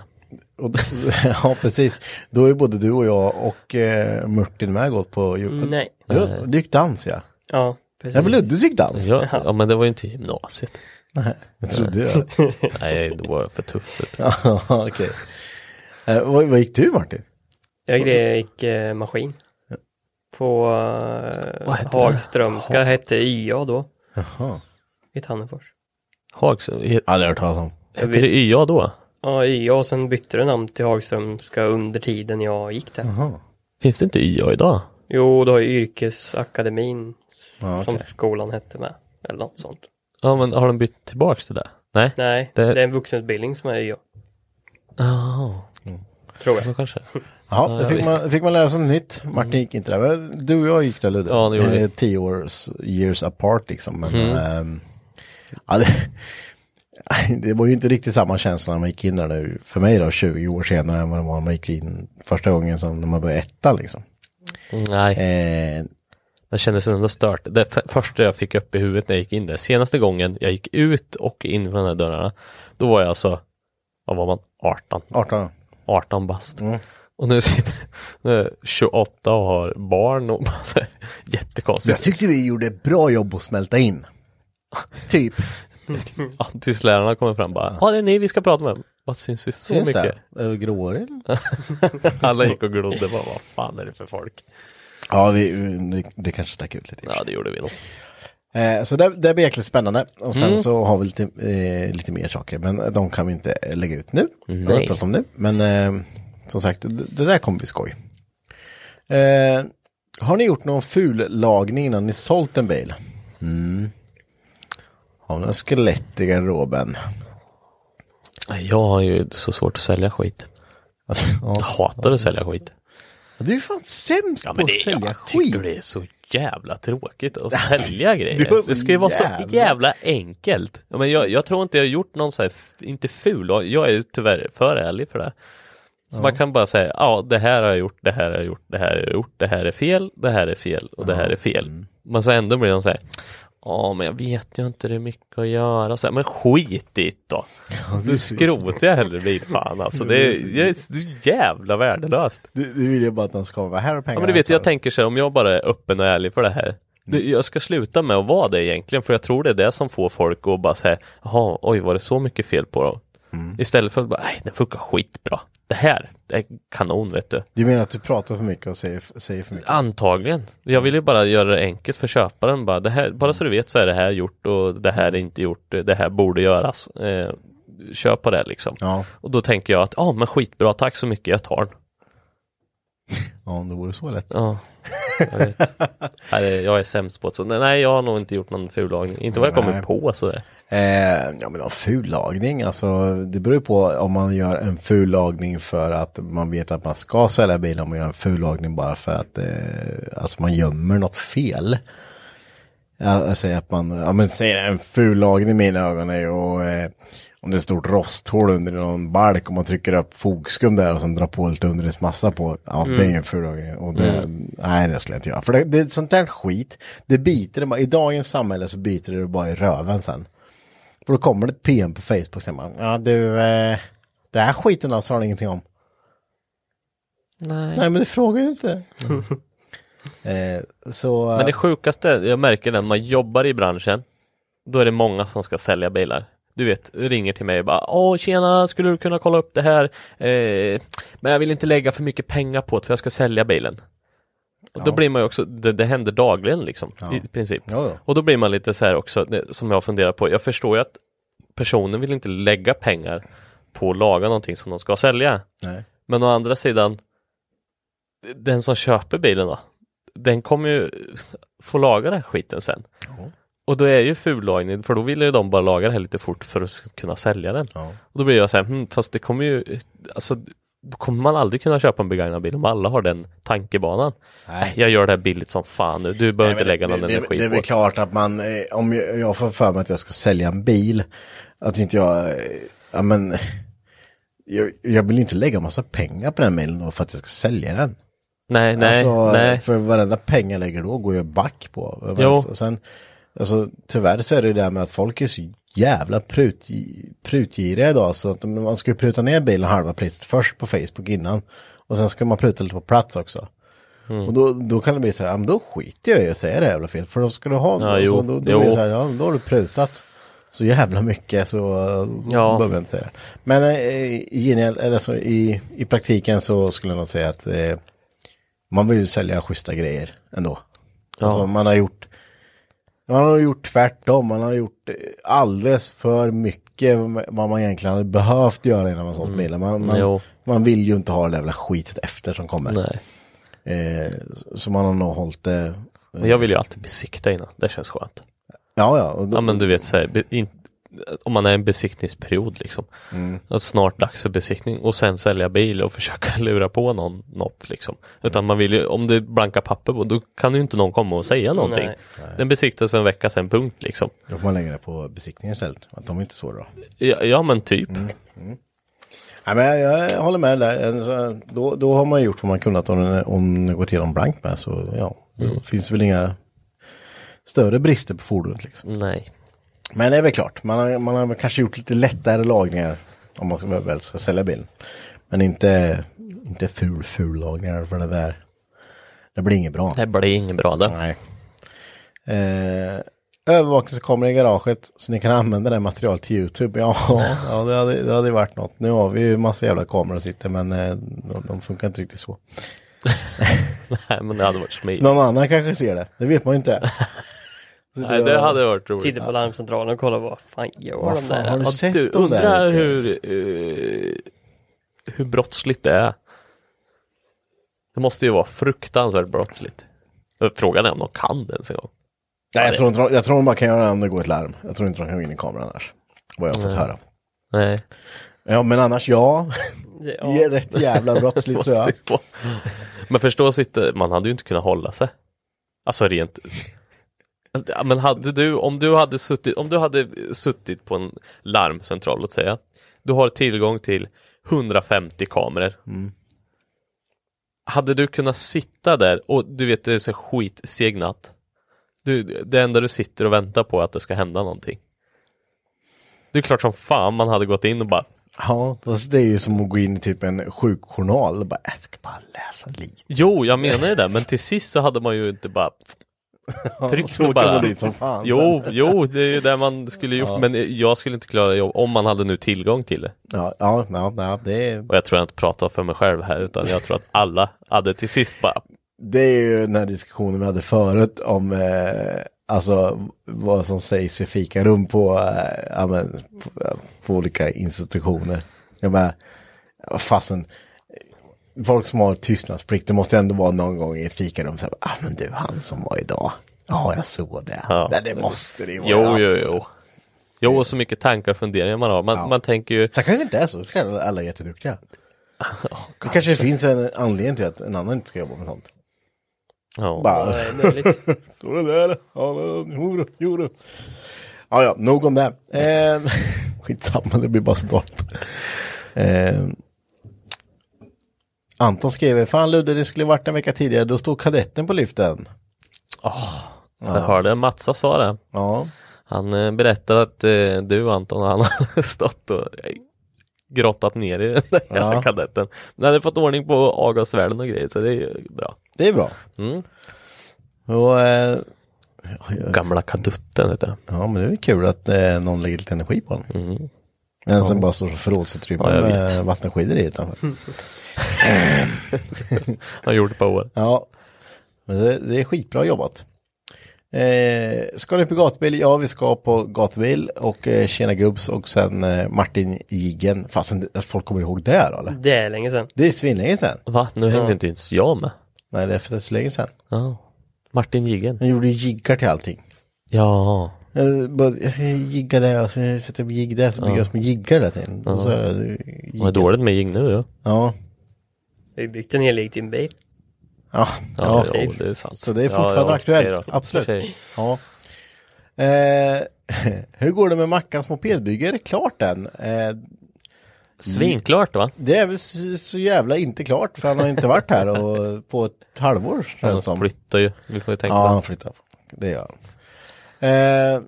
och, då- ja, precis. Då är både du och jag och eh, Mörtin med gått på... ju- Nej. Du, du gick dans ja. Ja, precis. Ja men Ludde gick dans. Ja, ja, men det var ju inte gymnasiet. Nej, jag trodde jag. Nej, det var för tufft. vet du. Ja, okej. Eh, vad, vad gick du Martin? Jag gick eh, maskin. På Vad eh, hette det? Hagströmska, hette YA då. Jaha. I Tannefors. Hags, he- Aldrig hört talas om. hette det YA då? Ja, YA och sen bytte det namn till Hagströmska under tiden jag gick där. Finns det inte YA idag? Jo, då har ju yrkesakademin Ja, som okej. skolan hette med. Eller något sånt. Ja, men har de bytt tillbaks till det? Nej. Nej, Det- det, är en vuxenutbildning som är YA. Oh, Tror jag. så kanske. Jaha, det fick man, fick man lära sig något nytt. Martin gick inte där. Men du och jag gick där Ludde. Mm. Ja, det gjorde Eh, vi. Mm. Tio års, years apart liksom. Men, ehm, ja, det, det var ju inte riktigt samma känsla när man gick in där nu, för mig då, 20 år senare än vad det var när man gick in första gången som när man började etta liksom. Nej, Eh, det kändes ändå stört. Det f- första jag fick upp i huvudet när jag gick in där, senaste gången jag gick ut och in från de här dörrarna, då var jag alltså, vad var man, 18? 18. 18 bast. Och nu sitter nu 28 och har barn och bara så här, Jag jättekonstigt. tyckte vi gjorde ett bra jobb att smälta in. Typ. Ja, tills lärarna kommer fram bara, ja det är ni vi ska prata med. Vad syns vi så Syns mycket? det? Över grååren? Alla gick och glodde bara, vad fan är det för folk? Ja, vi, det, det kanske stack ut lite. Ja det gjorde vi nog. Eh, så det, det blir jäkligt spännande. Och Mm. sen så har vi lite, eh, lite mer saker, men de kan vi inte eh, lägga ut nu. Jag vill prata om nu. Men eh, som sagt, det, det där kommer bli skoj. Eh, har ni gjort någon ful lagning innan ni sålt en bil? Mm. Har ni några skelett i garderoben? Nej, Jag har ju så svårt att sälja skit. Alltså, Jag ja. hatar att sälja skit. Du är fan sämst på men att det, sälja jag skit. tycker det är så jävla tråkigt att sälja grejer. var så det ska ju vara så jävla- jävla enkelt. Ja, men jag, jag tror inte jag har gjort någon så här, f- inte ful, och jag är tyvärr för ärlig för det. Så man kan bara säga, ja det här har jag gjort, det här har jag gjort, det här har jag gjort, det här är fel, det här är fel och det här är Mm. fel. Men så ändå blir de så här, ja men jag vet ju inte, det är mycket att göra. Så här, men skit i det då. Du skrotar hellre bilfan alltså. Det är, det är så jävla värdelöst. Du, du vill ju bara att den ska vara här och pengarna. Ja men du vet, här. jag tänker så här, om jag bara är öppen och ärlig för det här. Det, jag ska sluta med att vara det egentligen, för jag tror det är det som får folk att bara säga, jaha, oj, var det så mycket fel på dem? Istället för att bara, nej, det funkar skitbra. Det här, det är kanon, vet du. Du menar att du pratar för mycket och säger, säger för mycket? Antagligen. Jag vill ju bara göra det enkelt för köparen. Bara, det här, bara så du vet så är det här gjort och det här är inte gjort. Det här borde göras. Eh, köp på det liksom. Ja, Och då tänker jag att, ja, men skitbra, tack så mycket, jag tar den. ja om det vore så lätt. Ja, jag vet. Nej, det- jag är sämst på det. Så, nej, jag har nog inte gjort någon fullagning. Inte vad jag kommer Nej. på sådär. Eh, ja men en ful lagning, alltså det beror ju på om man gör en ful lagning för att man vet att man ska sälja bilen, om man gör en ful lagning bara för att eh, alltså man gömmer något fel. Ja, Jag säger alltså att man, ja men säger en ful lagning i mina ögon är ju och, eh, om det är ett stort rosthål under någon balk och man trycker upp fogskum där och sen drar på lite underredsmassa på. Ja det Mm. är ju en ful lagning. Och det, Nej det skulle jag inte göra. För det, det är sånt där skit. Det biter det bara, i dagens samhälle så biter det bara i röven sen. För då kommer det ett PM på Facebook sen bara, ja du, eh, det här skiten då sa du ingenting om. Nej. Nej men du frågar ju inte. eh, så, Men det sjukaste, jag märker det, när man jobbar i branschen, då är det många som ska sälja bilar. Du vet, ringer till mig och bara Åh tjena, skulle du kunna kolla upp det här? Eh, men jag vill inte lägga för mycket pengar på det för jag ska sälja bilen. Och då blir man ju också, det, det händer dagligen liksom, i princip. Ja, ja. Och då blir man lite så här också, det- som jag funderar på, jag förstår ju att personen vill inte lägga pengar på att laga någonting som de ska sälja. Nej. Men å andra sidan, den som köper bilen då, den kommer ju få laga den här skiten sen. Och då är ju fullagning, för då vill ju de bara laga det här lite fort för att s- kunna sälja den. Ja. Och då blir jag så här, hm, fast det kommer ju, alltså, då kommer man aldrig kunna köpa en begagnad bil om alla har den tankebanan. Nej. Jag gör det här billigt som fan nu, du behöver Nej, inte men lägga någon det, det, energi det är på väl det. klart att man, eh, om jag, jag får för mig att jag ska sälja en bil, att inte jag, eh, ja men, jag, jag vill inte lägga massa pengar på den bilen då för att jag ska sälja den. Nej, nej, alltså, nej. För varenda pengar jag lägger då går jag back på. Jo. Och sen, alltså, tyvärr så är det ju det här med att folk är så jävla prut, prutgiriga idag. Så att man ska ju pruta ner bilen halva priset först på Facebook innan. Och sen ska man pruta lite på plats också. Mm. Och då, då kan det bli så här, ja, men då skiter jag i att säga det jävla fel. För då ska du ha, Ja, så jo, då, då blir det jo. så här, ja, då har du prutat. Så jävla mycket så då Ja. behöver jag inte säga det. Men eh, i, gengäld- eller så i, i praktiken så skulle jag nog säga att eh, man vill ju sälja schyssta grejer ändå. Alltså man har gjort man har gjort tvärtom, man har gjort eh, alldeles för mycket vad man egentligen hade behövt göra innan man sålt bilen. Man, man, Mm. Jo. man vill ju inte ha det där jävla skitet efter som kommer. nej. Eh, så- så man har nog hållit det, Och jag vill ju alltid besikta innan, det känns skönt. ja ja. Och då, Ja men du vet så här, be- in, om man är i en besiktningsperiod liksom. Att snart dags för besiktning och sen sälja bil och försöka lura på någon något liksom. Utan man vill ju, om det är blanka papper på, då kan ju inte någon komma och säga någonting. Nej. Den besiktas för en vecka sedan, punkt liksom. Då får man lägga det på besiktningen istället. Att de är inte så bra. Ja, ja men typ. Nej, men jag, jag håller med där. Alltså, Då, då har man gjort vad man kunnat om, den- om det gått igenom blankt med. Så ja, då finns det väl inga större brister på fordonet liksom. Nej. Men det är väl klart, man har, man har väl kanske gjort lite lättare lagningar om man ska, väl ska sälja bilen. Men inte, inte ful, ful lagningar för det där. Det blir inget bra. Det blir inget bra det. Nej. Eh, övervakningskameror i garaget så ni kan använda det materialet till YouTube. Ja, ja det, hade, det hade varit något. Nu har vi ju massa jävla kameror och sitter men eh, de, de funkar inte riktigt så. Nej men det hade varit smidigt. Någon annan kanske ser det, det vet man ju inte. Nej det hade varit roligt. Tittar på larmcentralen och kollar vad fan gör Vad de fan där? har du Ja, sett du, dem där? undrar ute? hur, eh, hur brottsligt det är. Det måste ju vara fruktansvärt brottsligt. Eh, Frågan är om de kan det ens en gång. Nej, jag tror, inte, de- jag tror de bara kan göra det om det går ett larm. Jag tror inte de kan gå in i kameran annars. Vad jag har fått höra. Nej. Ja, men annars ja. Det är rätt jävla brottsligt tror jag. Måste ju vara. Men förstå sitta, man hade ju inte kunnat hålla sig. Alltså rent... Ja, Men hade du, om du hade suttit, om du hade suttit på en larmcentral, låt säga. Du har tillgång till 150 kameror. Hade du kunnat sitta där och du vet, det är så skitseg natt. Du, det enda du sitter och väntar på är att det ska hända någonting. Det är klart som fan man hade gått in och bara Ja, fast det är ju som att gå in i typ en sjukjournal och bara, jag ska bara läsa lite. Jo, jag menar ju det, men till sist så hade man ju inte bara Och tryckt så och åker bara... man dit som fan. Jo, jo, det är ju det man skulle gjort, men jag skulle inte klara jobb om man hade nu tillgång till det. Ja, ja, ja, ja det, är- Och jag tror jag inte pratar för mig själv här, utan jag tror att alla hade till sist bara, det är ju den här diskussionen vi hade förut om eh, alltså, vad som sägs i fikarum på, eh, ja, men, på, på olika institutioner. Jag menar, vad fasen, folk som har tystnadsplikt, det måste ändå vara någon gång i ett fikarum, så här, ah, men du, han som var idag, ja, jag såg det. Ja. Nej, det måste det ju vara. jo, jo, absolut. jo. Jo, och så mycket tankar och funderingar man har. Man, man tänker ju, Så kanske inte är så, så kanske alla är jätteduktiga. det kanske finns en anledning till att en annan inte ska jobba med sånt. ja, Bara, Nej, möjligt. Så det där, ja, jo då, jo då. Ja, ja, nog om det. Eh, skitsamma, det blir bara start. Eh, Anton skriver, fan Ludde, det skulle varit en vecka tidigare, då stod kadetten på lyften. jag hörde Matsa sa det. Ja, Han eh, berättade att eh, du Anton, han har stått och eh, grottat ner i den där jävla kadetten. Men han hade fått ordning på avgasvärden och grejer, så det är ju bra. det är bra. Mm. Och, eh, ja, Gamla kadutten heter det. ja, men det är kul att eh, någon lägger lite energi på den. Men att den bara står som förrådsutrymme Ja, jag med vet. vattenskidor i utanför. Han gjorde ett par år. Ja, men det, det är skitbra jobbat. Eh, ska ni på gatbil? Ja, vi ska på gatbil och eh, Tjena Gubbs och sen eh, Martin Jiggen. Fasen, att folk kommer ihåg det här, eller? Det är länge sedan. Det är svinlänge sedan. Va? Nu hängde inte ens jag med. Nej, det är för det är så länge sedan. Ja. Martin Jiggen. Han gjorde ju jiggar till allting. Ja. Jag, bara, jag ska jigga där och sen sätter jag jigg där så blir jag som jiggar där till. Och så är det Vad är jiggen. dåligt med jigg nu ja. Ja. Vi har ju byggt en hel egen bil. Ja, Ja, ja, jo, det är sant. Så det är fortfarande aktuellt, okej då. absolut. Mm. Okej. Ja. Eh, hur går det med Mackans mopedbygge? Är det klart än? Eh, Svinklart va? det är väl så, så jävla inte klart för han har inte varit här och, på ett halvår känns det Han som. flyttar ju. Vi får ju tänka Ja, på han flyttar. Det gör han. Eh,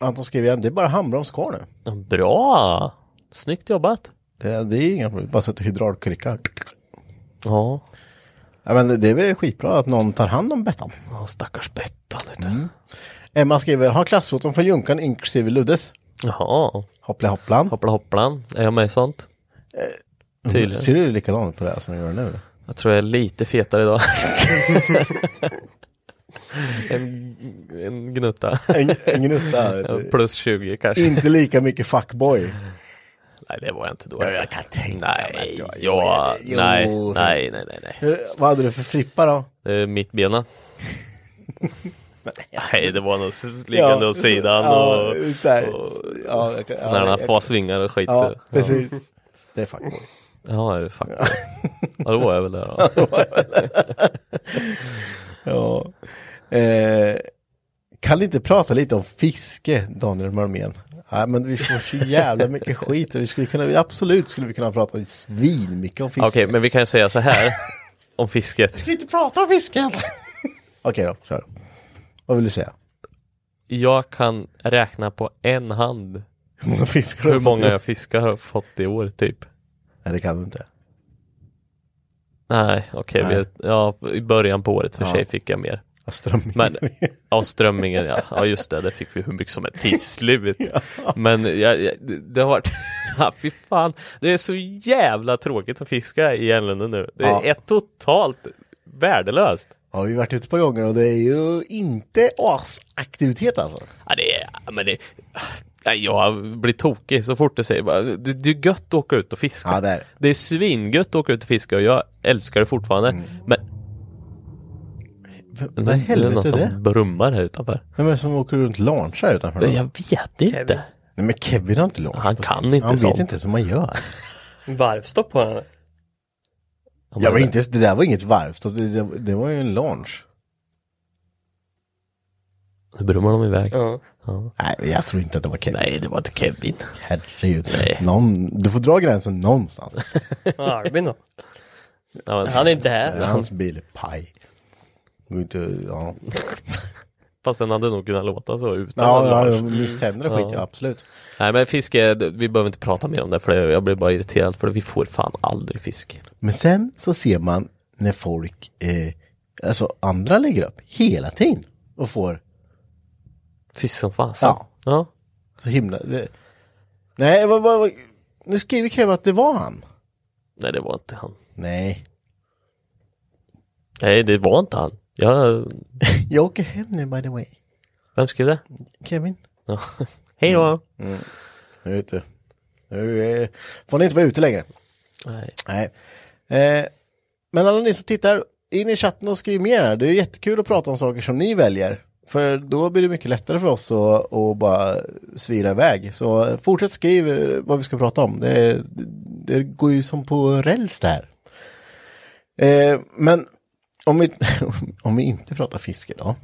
Anton skriver igen, det är bara handbroms kvar nu. det. Bra! Snyggt jobbat. Det, det är inga problem, bara sätta hydraulkrycka. Ja. Ja, men det är väl skitbra att någon tar hand om Bettan. ja stackars Bettan lite. Mm. Emma skriver, har klassfoton från Junkan inklusive Luddes? Jaha. Hoppla hopplan. Mm. Hoppla hopplan. Är jag med i sånt? Tydligen. Ser du likadan ut på det här som jag gör nu? Jag tror jag är lite fetare idag. en, en gnutta. En, en gnutta. vet du. Plus 20 kanske. Inte lika mycket fuckboy. Nej, det var jag inte då. Jag kan tänka nej, mig att jag- ja, Jo. nej, nej, nej, nej, nej. Eh, Hur, vad hade du för frippa då? Det är mitt bena. Nej, det var nog s- liggande åt sidan ja, och, så här, och ja, jag kan- ja, sådana jag här kan- fasvingar och skit. Ja, precis. Det är fuckboy. Ja, det är fuck. Ja. då var jag väl där då. Ja. Eh, kan ni inte prata lite om fiske, Daniel Malmén? Nej, men vi får så jävla mycket skit. Vi skulle kunna, absolut skulle vi kunna prata svin mycket om fiske. Okej, men vi kan ju säga så här om fisket. Ska vi inte prata om fisken? Okej då, kör. Vad vill du säga? Jag kan räkna på en hand Hur många fiskar hur många jag fiskar har fått i år typ. Nej, det kan du inte. Nej, okej, Nej. vi- ja, i början på året för sig fick jag mer. Strömming. Men ja, strömmingen, ja. ja just det, det fick vi hur mycket som helst till slut. Men jag- jag- det det har varit, ja, fy fan, det är så jävla tråkigt att fiska i Enlunden nu. Det Ja. är totalt värdelöst. Ja, vi har varit ute på gånger och det är ju inte asaktivitet alltså. Ja, det är, ja, men det, nej, jag blir tokig så fort du säger bara, det, det är gött att åka ut och fiska. Ja, det är det. det är svingött att åka ut och fiska och jag älskar det fortfarande. Mm. Men V- det Vad i är någon helvete är som det? brummar här utanför. Vem är det som åker runt launch här utanför? då? Jag vet inte. Kevin. Nej, men Kevin har inte launch. Han på kan sig. inte Han sånt. vet inte ens hur man gör. Varvstopp på den. Ja, Han bara, men inte, ens- det där var inget varvstopp, det, det, det var ju en launch. Nu brummar de iväg. Ja. Nej, men jag tror inte att det var Kevin. Nej, det var inte Kevin. Herregud. Nej. Någon, du får dra gränsen någonstans. Albin då? Ja, men, Han är inte här. Hans bil är paj. Går inte, ja. Fast den hade nog kunnat låta så utan en Ja, Lars. ja, misständer och skit, ja. absolut. Nej men fiske, det- vi behöver inte prata mer om det för det- jag blir bara irriterad för det. vi får fan aldrig fisk. Men sen så ser man när folk, eh, alltså andra lägger upp hela tiden och får Fisk som fasen. Ja. ja. så himla... Det, nej, vad, vad, vad, nu skriver Kevin att det var han. Nej det var inte han. Nej, Nej det var inte han. Jag, jag åker hem nu by the way. vem skrev det? Kevin. Ja. Mm. Hej då! Nu är ute. Nu eh, får ni inte vara ute längre. Nej. Nej. Eh, men alla ni som tittar, in i chatten och skriv mer. här. Det är jättekul att prata om saker som ni väljer. För då blir det mycket lättare för oss att, att bara svira iväg. Så fortsätt skriv eh, vad vi ska prata om. Det, det går ju som på räls där. Eh, men om vi, om vi inte pratar fiske då.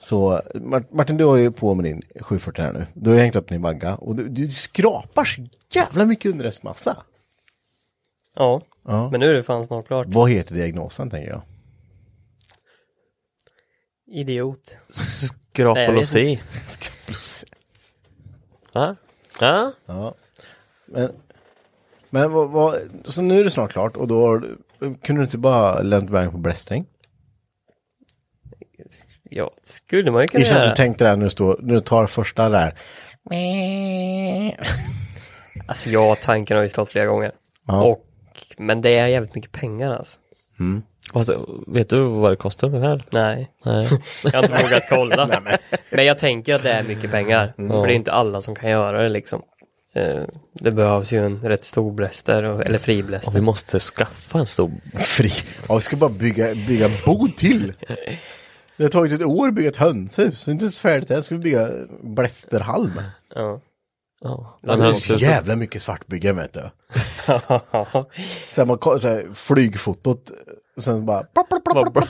Så Mart- Martin, du har ju på med din 740 här nu. Du har hängt upp din vagga och du, du skrapar så jävla mycket underredsmassa. Ja. Ja. Men nu är det fan snart klart. Vad heter diagnosen tänker jag? Idiot. Nej, jag vet Skrapelossi. Ja. Ja. Men, men vad, vad, så nu är det snart klart och då har du- kunde du inte bara lämna iväg på blästring? Ja, skulle man ju kunna Jag känner att göra. du tänkte där när du, står, när du tar första där. Alltså jag tanken har ju slått flera gånger. Ja. Mm. Och, men det är jävligt mycket pengar alltså. Fast, Alltså, vet du vad det kostar den här? Nej, Nej. jag har inte vågat kolla. Men jag tänker att det är mycket pengar. Mm. För det är inte alla som kan göra det liksom. Eh, Det behövs ju en rätt stor bläster, och- eller fri Och vi bläster. måste skaffa en stor Fri. Ja, vi ska bara bygga, bygga bod till. Det har tagit ett år att bygga ett hönshus. Det är inte ens färdigt än. Ska vi bygga blästerhalm? Ja. Ja. Det Men är han, så jävla mycket svartbyggen vet du. Sen man ko- så här, flygfotot. Och sen bara bara ploppar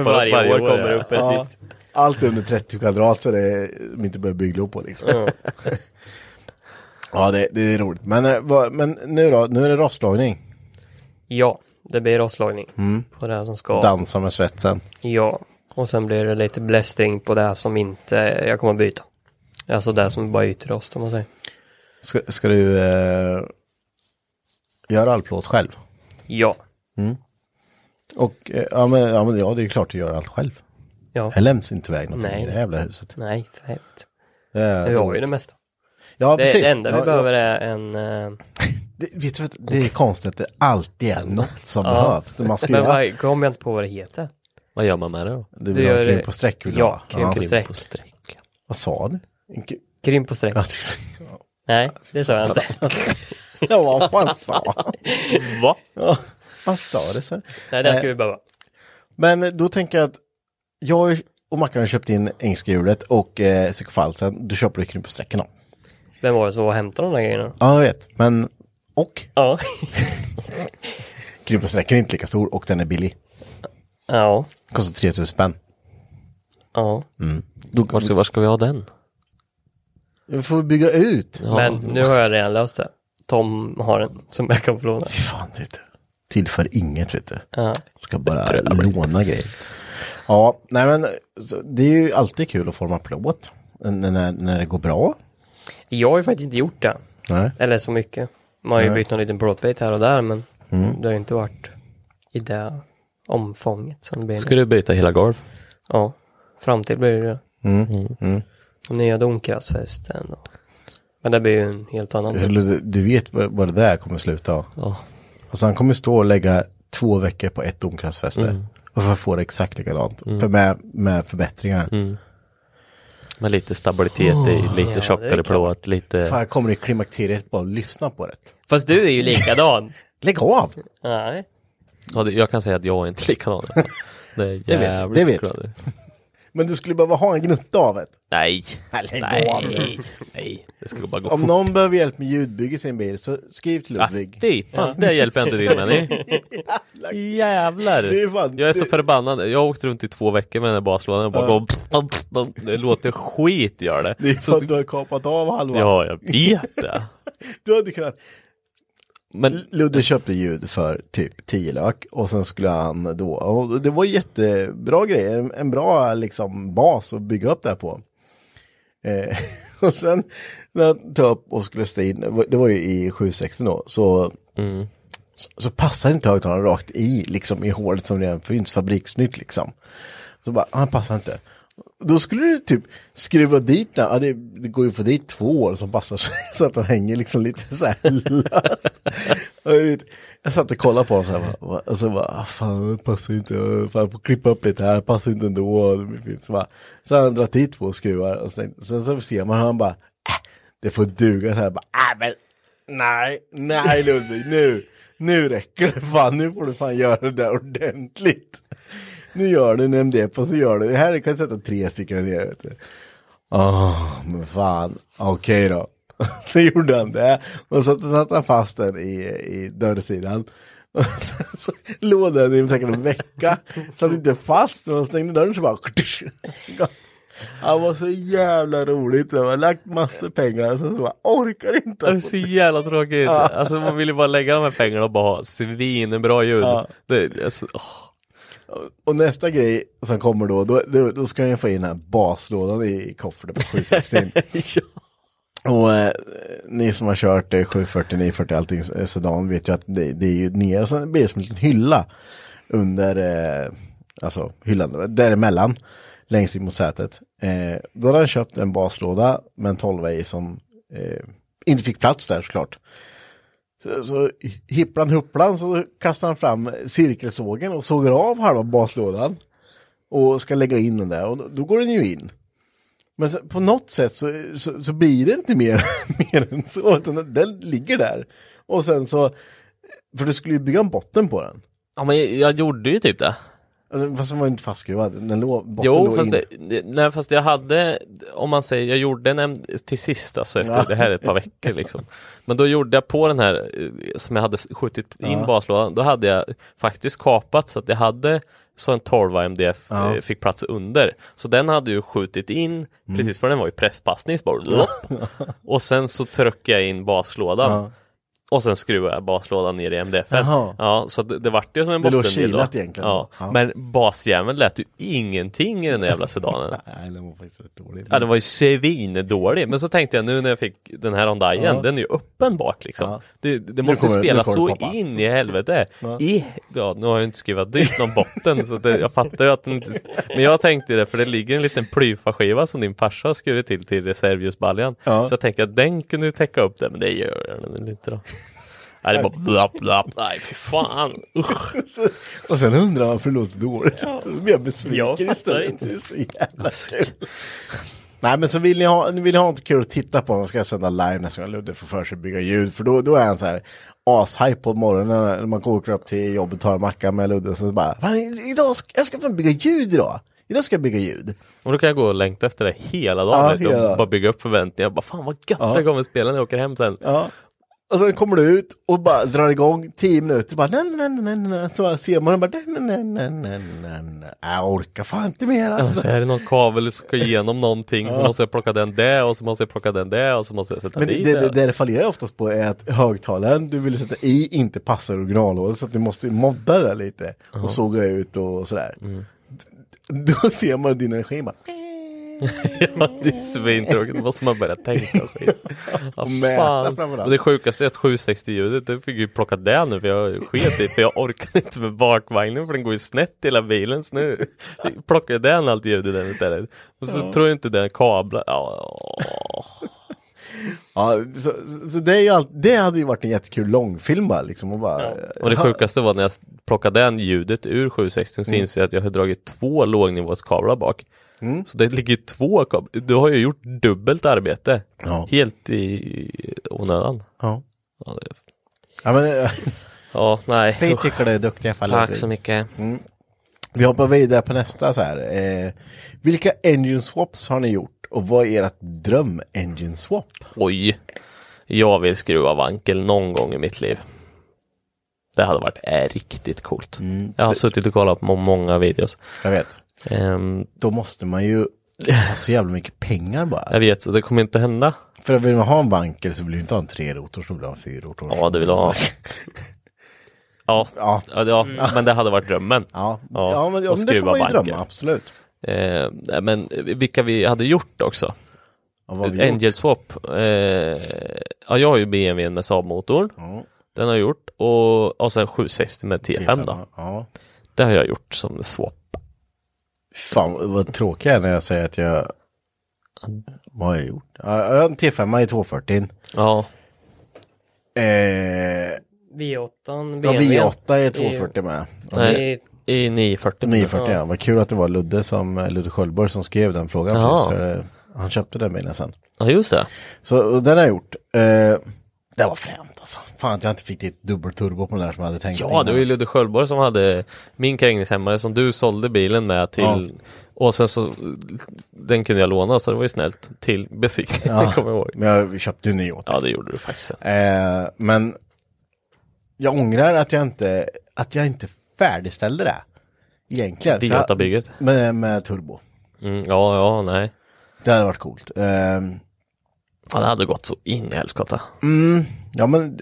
upp varje, år kommer det ja. upp ett Ja. nytt. Allt är under 30 kvadrat så det är, de inte behöver bygglov på liksom. ja, det, det är roligt. Men, eh, vad, men nu då, nu är det rostlagning. Ja, det blir rostlagning på det här som ska. Dansa med svetsen. Ja, och sen blir det lite blästring på det som inte jag kommer byta. Alltså det som bara är ytrost om man säger. Ska, ska du eh, göra all plåt själv? Mm. Ja, Och eh, ja, men, ja, men ja, det är ju klart du gör allt själv. ja. Här lämns inte iväg någonting Nej. i det här jävla huset. Nej, för helvete. Det är Vi har ju roligt. det mesta. Ja, Det, precis. det enda vi ja, behöver Ja, är en... eh, det, vet du, vad, det är konstigt att det alltid är något som Ja. behövs. Man ska men göra, vad, kom jag inte på vad det heter? Vad gör man med det då? du du vill ha gör- krim på streck? vill du ja, ha? krim på streck. På streck. Vad sa du? En krim- Grym på streck. Ja, det- Nej, det sa jag inte. Ja, vad fan sa han? Va? Ja, Vad sa det så? Nej, det skulle vi behöva. Men då tänker jag att jag har ju och Mackan har köpt in engelska hjulet och eh, psykofalsen. Du köper rycken på sträckorna. Vem var det som var och hämtade de där grejerna? Ja, jag vet. Men, och Ja. krympelsträckan är inte lika stor och den är billig. Ja. Kostar 3000 spänn. Ja. Då Var ska, var ska vi ha den? vi får vi bygga ut. Ja. Men nu har jag redan löst det. Tom har en som jag kan få låna. Fy fan, vet du. Tillför inget, vet du. Ja. Ska bara låna grejer. Ja, nej men så, det är ju alltid kul att få en applåd. När, när, när det går bra. Jag har ju faktiskt inte gjort det. Nej. Eller så mycket. Man har ju Nej. bytt någon liten plåtbit här och där men Mm. det har ju inte varit i det omfånget som det blir. Ska nu. du byta hela golv? Ja. Framtid blir det det. Mm. Och nya domkrasfesten. Och... Men det blir ju en helt annan. Så Du, du vet vad vad det där kommer sluta. Ja. Alltså han kommer stå och lägga två veckor på ett domkraftsfäste. Och för att få det exakt likadant. För med, med förbättringar. Med lite stabilitet i, lite Ja, det är tjockare klart. plåt, lite... Fan, jag kommer i klimakteriet bara lyssna på det. Fast du är ju likadan. Lägg av! Nej. Ja, det, jag kan säga att jag är inte likadan. Det är jävligt jag, det vet bra det. Men du skulle behöva ha en gnutta av det. Nej. Nej, lägg av. Nej. Nej. Det ska bara gå Om fort. någon behöver hjälp med ljudbygge i sin bil så skriv till Ah, Ludvig. fy fan, det hjälper jag inte till med. ni. Jävlar. Det är fan- jag är så det- förbannad. Jag har åkt runt i två veckor med den här baslådan och bara går... Det låter skit gör det. Det är för att du har kapat av halva. Ja, jag vet det. Du hade kunnat. Men Ludde köpte ljud för typ 10 lök och sen skulle han då, och det var jättebra grejer, en- en bra liksom bas att bygga upp det här på. Eh, och sen när han tog upp och skulle ställa in, det var- det var ju i 760 då, så, Mm. så, så passade inte högtalaren rakt i, liksom i hålet som redan finns, fabriksnytt liksom. Så bara, han passar inte. Då skulle du typ skruva dit den, ja, det, det går ju att få dit två år som passar sig så att den hänger liksom lite så här löst. Och jag, vet, jag satt och kollade på den så här, bara, va- och så bara, ah, fan det passar ju inte, eh, fan jag får klippa upp lite här, det passar ju inte ändå. Och det blir fint. Så, bara, så har han dragit dit två skruvar och sen, sen så ser man hur han bara, äh, det får duga så här, bara, äh, men, nej, nej Ludvig, nu, nu räcker det fan, nu får du fan göra det där ordentligt. Nu gör du en MDF och så gör du det. Här kan du sätta tre stycken ner. Vet du. Åh, men fan. Okej då. Så gjorde han det. Och så satte han fast den i, i dörrsidan. Och sen så låg den i säkert en vecka. Satt inte fast. Och de stängde dörren så bara... Han var så jävla roligt. Jag har lagt massor pengar. Och sen så bara orkar inte. det är så jävla tråkigt. Alltså man vill ju bara lägga de här pengarna och bara ha svinbra ljud. Ja. Det, alltså, åh. Och nästa grej som kommer då, då, då, då ska jag få in den här baslådan i kofferten på 760. Och eh, ni som har kört eh, 740, 940, allting eh, sedan vet ju att det, det är ju ner och sen blir det som en liten hylla under, eh, alltså hyllan, däremellan, längst in mot sätet. Eh, då hade han köpt en baslåda med en 12 i som eh, inte fick plats där såklart. Så, så hipplan hupplan så kastar han fram cirkelsågen och sågar av halva baslådan. Och ska lägga in den där och då, då går den ju in. Men så, på något sätt så, så, så blir det inte mer, mer än så, utan den, den ligger där. Och sen så, för du skulle ju bygga en botten på den. Ja men jag, jag gjorde ju typ det. Alltså, Fast den var ju inte fastskruvad, den låg, botten Jo, låg fast, in. det, det- nej, fast jag hade, om man säger, jag gjorde en till sist alltså, efter, Ja. det här är ett par veckor liksom. Men då gjorde jag på den här eh, som jag hade s- skjutit in baslådan, då hade jag faktiskt kapat så att jag hade så en 12 MDF eh, fick plats under. Så den hade ju skjutit in, Mm. precis för den var ju presspassning, så bara, lopp. och sen så tryckte jag in baslådan. Och sen skruvade jag baslådan ner i MDF. Jaha. Ja, så det, det vart ju som en Det låg bottendel då. kilat egentligen. Ja. Ja. Men basjäveln lät ju ingenting i den där jävla sedanen. Nej, den var faktiskt rätt dålig. Ja, den var ju svindålig. Men så tänkte jag nu när jag fick den här Hondaien, den är ju öppen bak liksom. Ja. Det, det måste kommer det, spela nu kommer det så poppa. in i helvete. I, ja, nu har jag inte skrivit dit någon botten, så det, jag fattar ju att den inte... Men jag tänkte det, för det ligger en liten plyfaskiva som din farsa har skurit till till reservljusbaljan. Ja. Så jag tänkte att den kunde ju täcka upp det, men det gör den väl inte då. Nej, det är bara blapp, blapp, nej fy fan, usch. Så- Och sen undrar man varför det låter dåligt. Ja. Då blir jag besviken Jag fattar istället. inte. Det är så jävla kul. Nej men så vill ni ha, vill ni ha något kul att titta på, då ska jag sända live nästa gång Ludde får för sig att bygga ljud. För då, då är han så här ashype på morgonen när man går upp till jobbet och tar en macka med Ludde. Så bara, "Fan, idag ska, jag ska fan bygga ljud idag. Idag ska jag bygga ljud. Och då kan jag gå och längta efter det hela dagen Ja, vet du, och hela dagen. bara bygga upp förväntningar. Bara, fan vad gött Ja. det kommer spela när jag åker hem sen. Ja. Och sen kommer du ut och bara drar igång 10 minuter. Bara, nej, nej, nej, nej. Så bara ser man och bara, nej, nej, nej, nej, nej, nej. Jag orkar fan inte mer. Och Alltså. så är det någon kabel som ska igenom någonting, så måste jag plocka den där och så måste jag plocka den där och så måste jag sätta Men det, dit det, det, det. det det fallerar oftast på är att högtalaren du vill sätta i inte passar originallådan så att du måste modda det lite och såga ut och sådär. Mm. Då ser man din energi bara, Ja, det är svintråkigt, då måste man börja tänka och skit. Ja, Och mäta fan. framförallt. Och det sjukaste är att 760-ljudet, det fick ju plocka det nu för jag sket i för jag orkade inte med bakvagnen för den går ju snett hela bilen så nu plockar jag den allt ljud i den istället. Och så tror jag inte den kablar, ja, Ja, så, så det, är ju allt, det hade ju varit en jättekul långfilm bara liksom. Och bara, Och det sjukaste var när jag plockade den ljudet ur 760 så inser jag att jag har dragit två lågnivåskablar bak. Så det ligger två kablar. Du har ju gjort dubbelt arbete. Ja. Helt i onödan. Ja. Ja, det... Ja, men, eh, ja nej. vi Usch, Mm. tycker det är duktiga fall. Tack så mycket. Vi hoppar vidare på nästa så här. Eh, vilka engine swaps har ni gjort och vad är ert dröm engine swap? Oj. Jag vill skruva vankel någon gång i mitt liv. Det hade varit eh, riktigt coolt. Jag har suttit och kollat på många videos. Jag vet. Ehm, Då måste man ju ha så jävla mycket pengar bara. jag vet, så det kommer inte hända. För vill man ha en vankel så vill du inte ha en trerotors, då vill du ha en fyrrotors. Ja, du vill ha. Ja, Ja. Ja, det- ja, men det hade varit drömmen. Ja, Ja, ja, men, ja och men det får skruva man ju banker. drömma, absolut. Eh, nej, men vilka vi hade gjort också. Ja, vad har vi gjort? Angel Swap. Eh, ja, jag har ju BMWn med Saab-motorn. Ja. Den har jag gjort. Och, och sen 760 med T5 då. Ja. Det har jag gjort som swap. Fan vad tråkigt jag är när jag säger att jag... Vad har jag gjort? Ja, jag har en T5 i 240. Ja, Eh, V8, ja, BMW. V8 är 240 med. nej, I- i 940. 940 ja. Vad kul att det var Ludde, som, Ludde Sköldborg som skrev den frågan. Ja. Precis, för, eh, han köpte den bilen sen. Ja, just det. Så och den har jag gjort. Eh, det var fränt alltså. Fan att jag inte fick dit dubbelturbo på den där som jag hade tänkt. Ja, innan. det var ju Ludde Sköldborg som hade min krängningshämmare som du sålde bilen med till Ja. och sen så den kunde jag låna så det var ju snällt till besiktning, Ja. kommer jag ihåg. Men jag köpte ju en ny åt Ja, det gjorde du faktiskt. sen. Eh, men jag ångrar att jag inte, att jag inte färdigställde det. Egentligen. För jag- Bygget. Med, med turbo. Mm, ja, ja, nej. Det hade varit coolt. Eh, Ja, det hade gått så in i helskotta. ja men,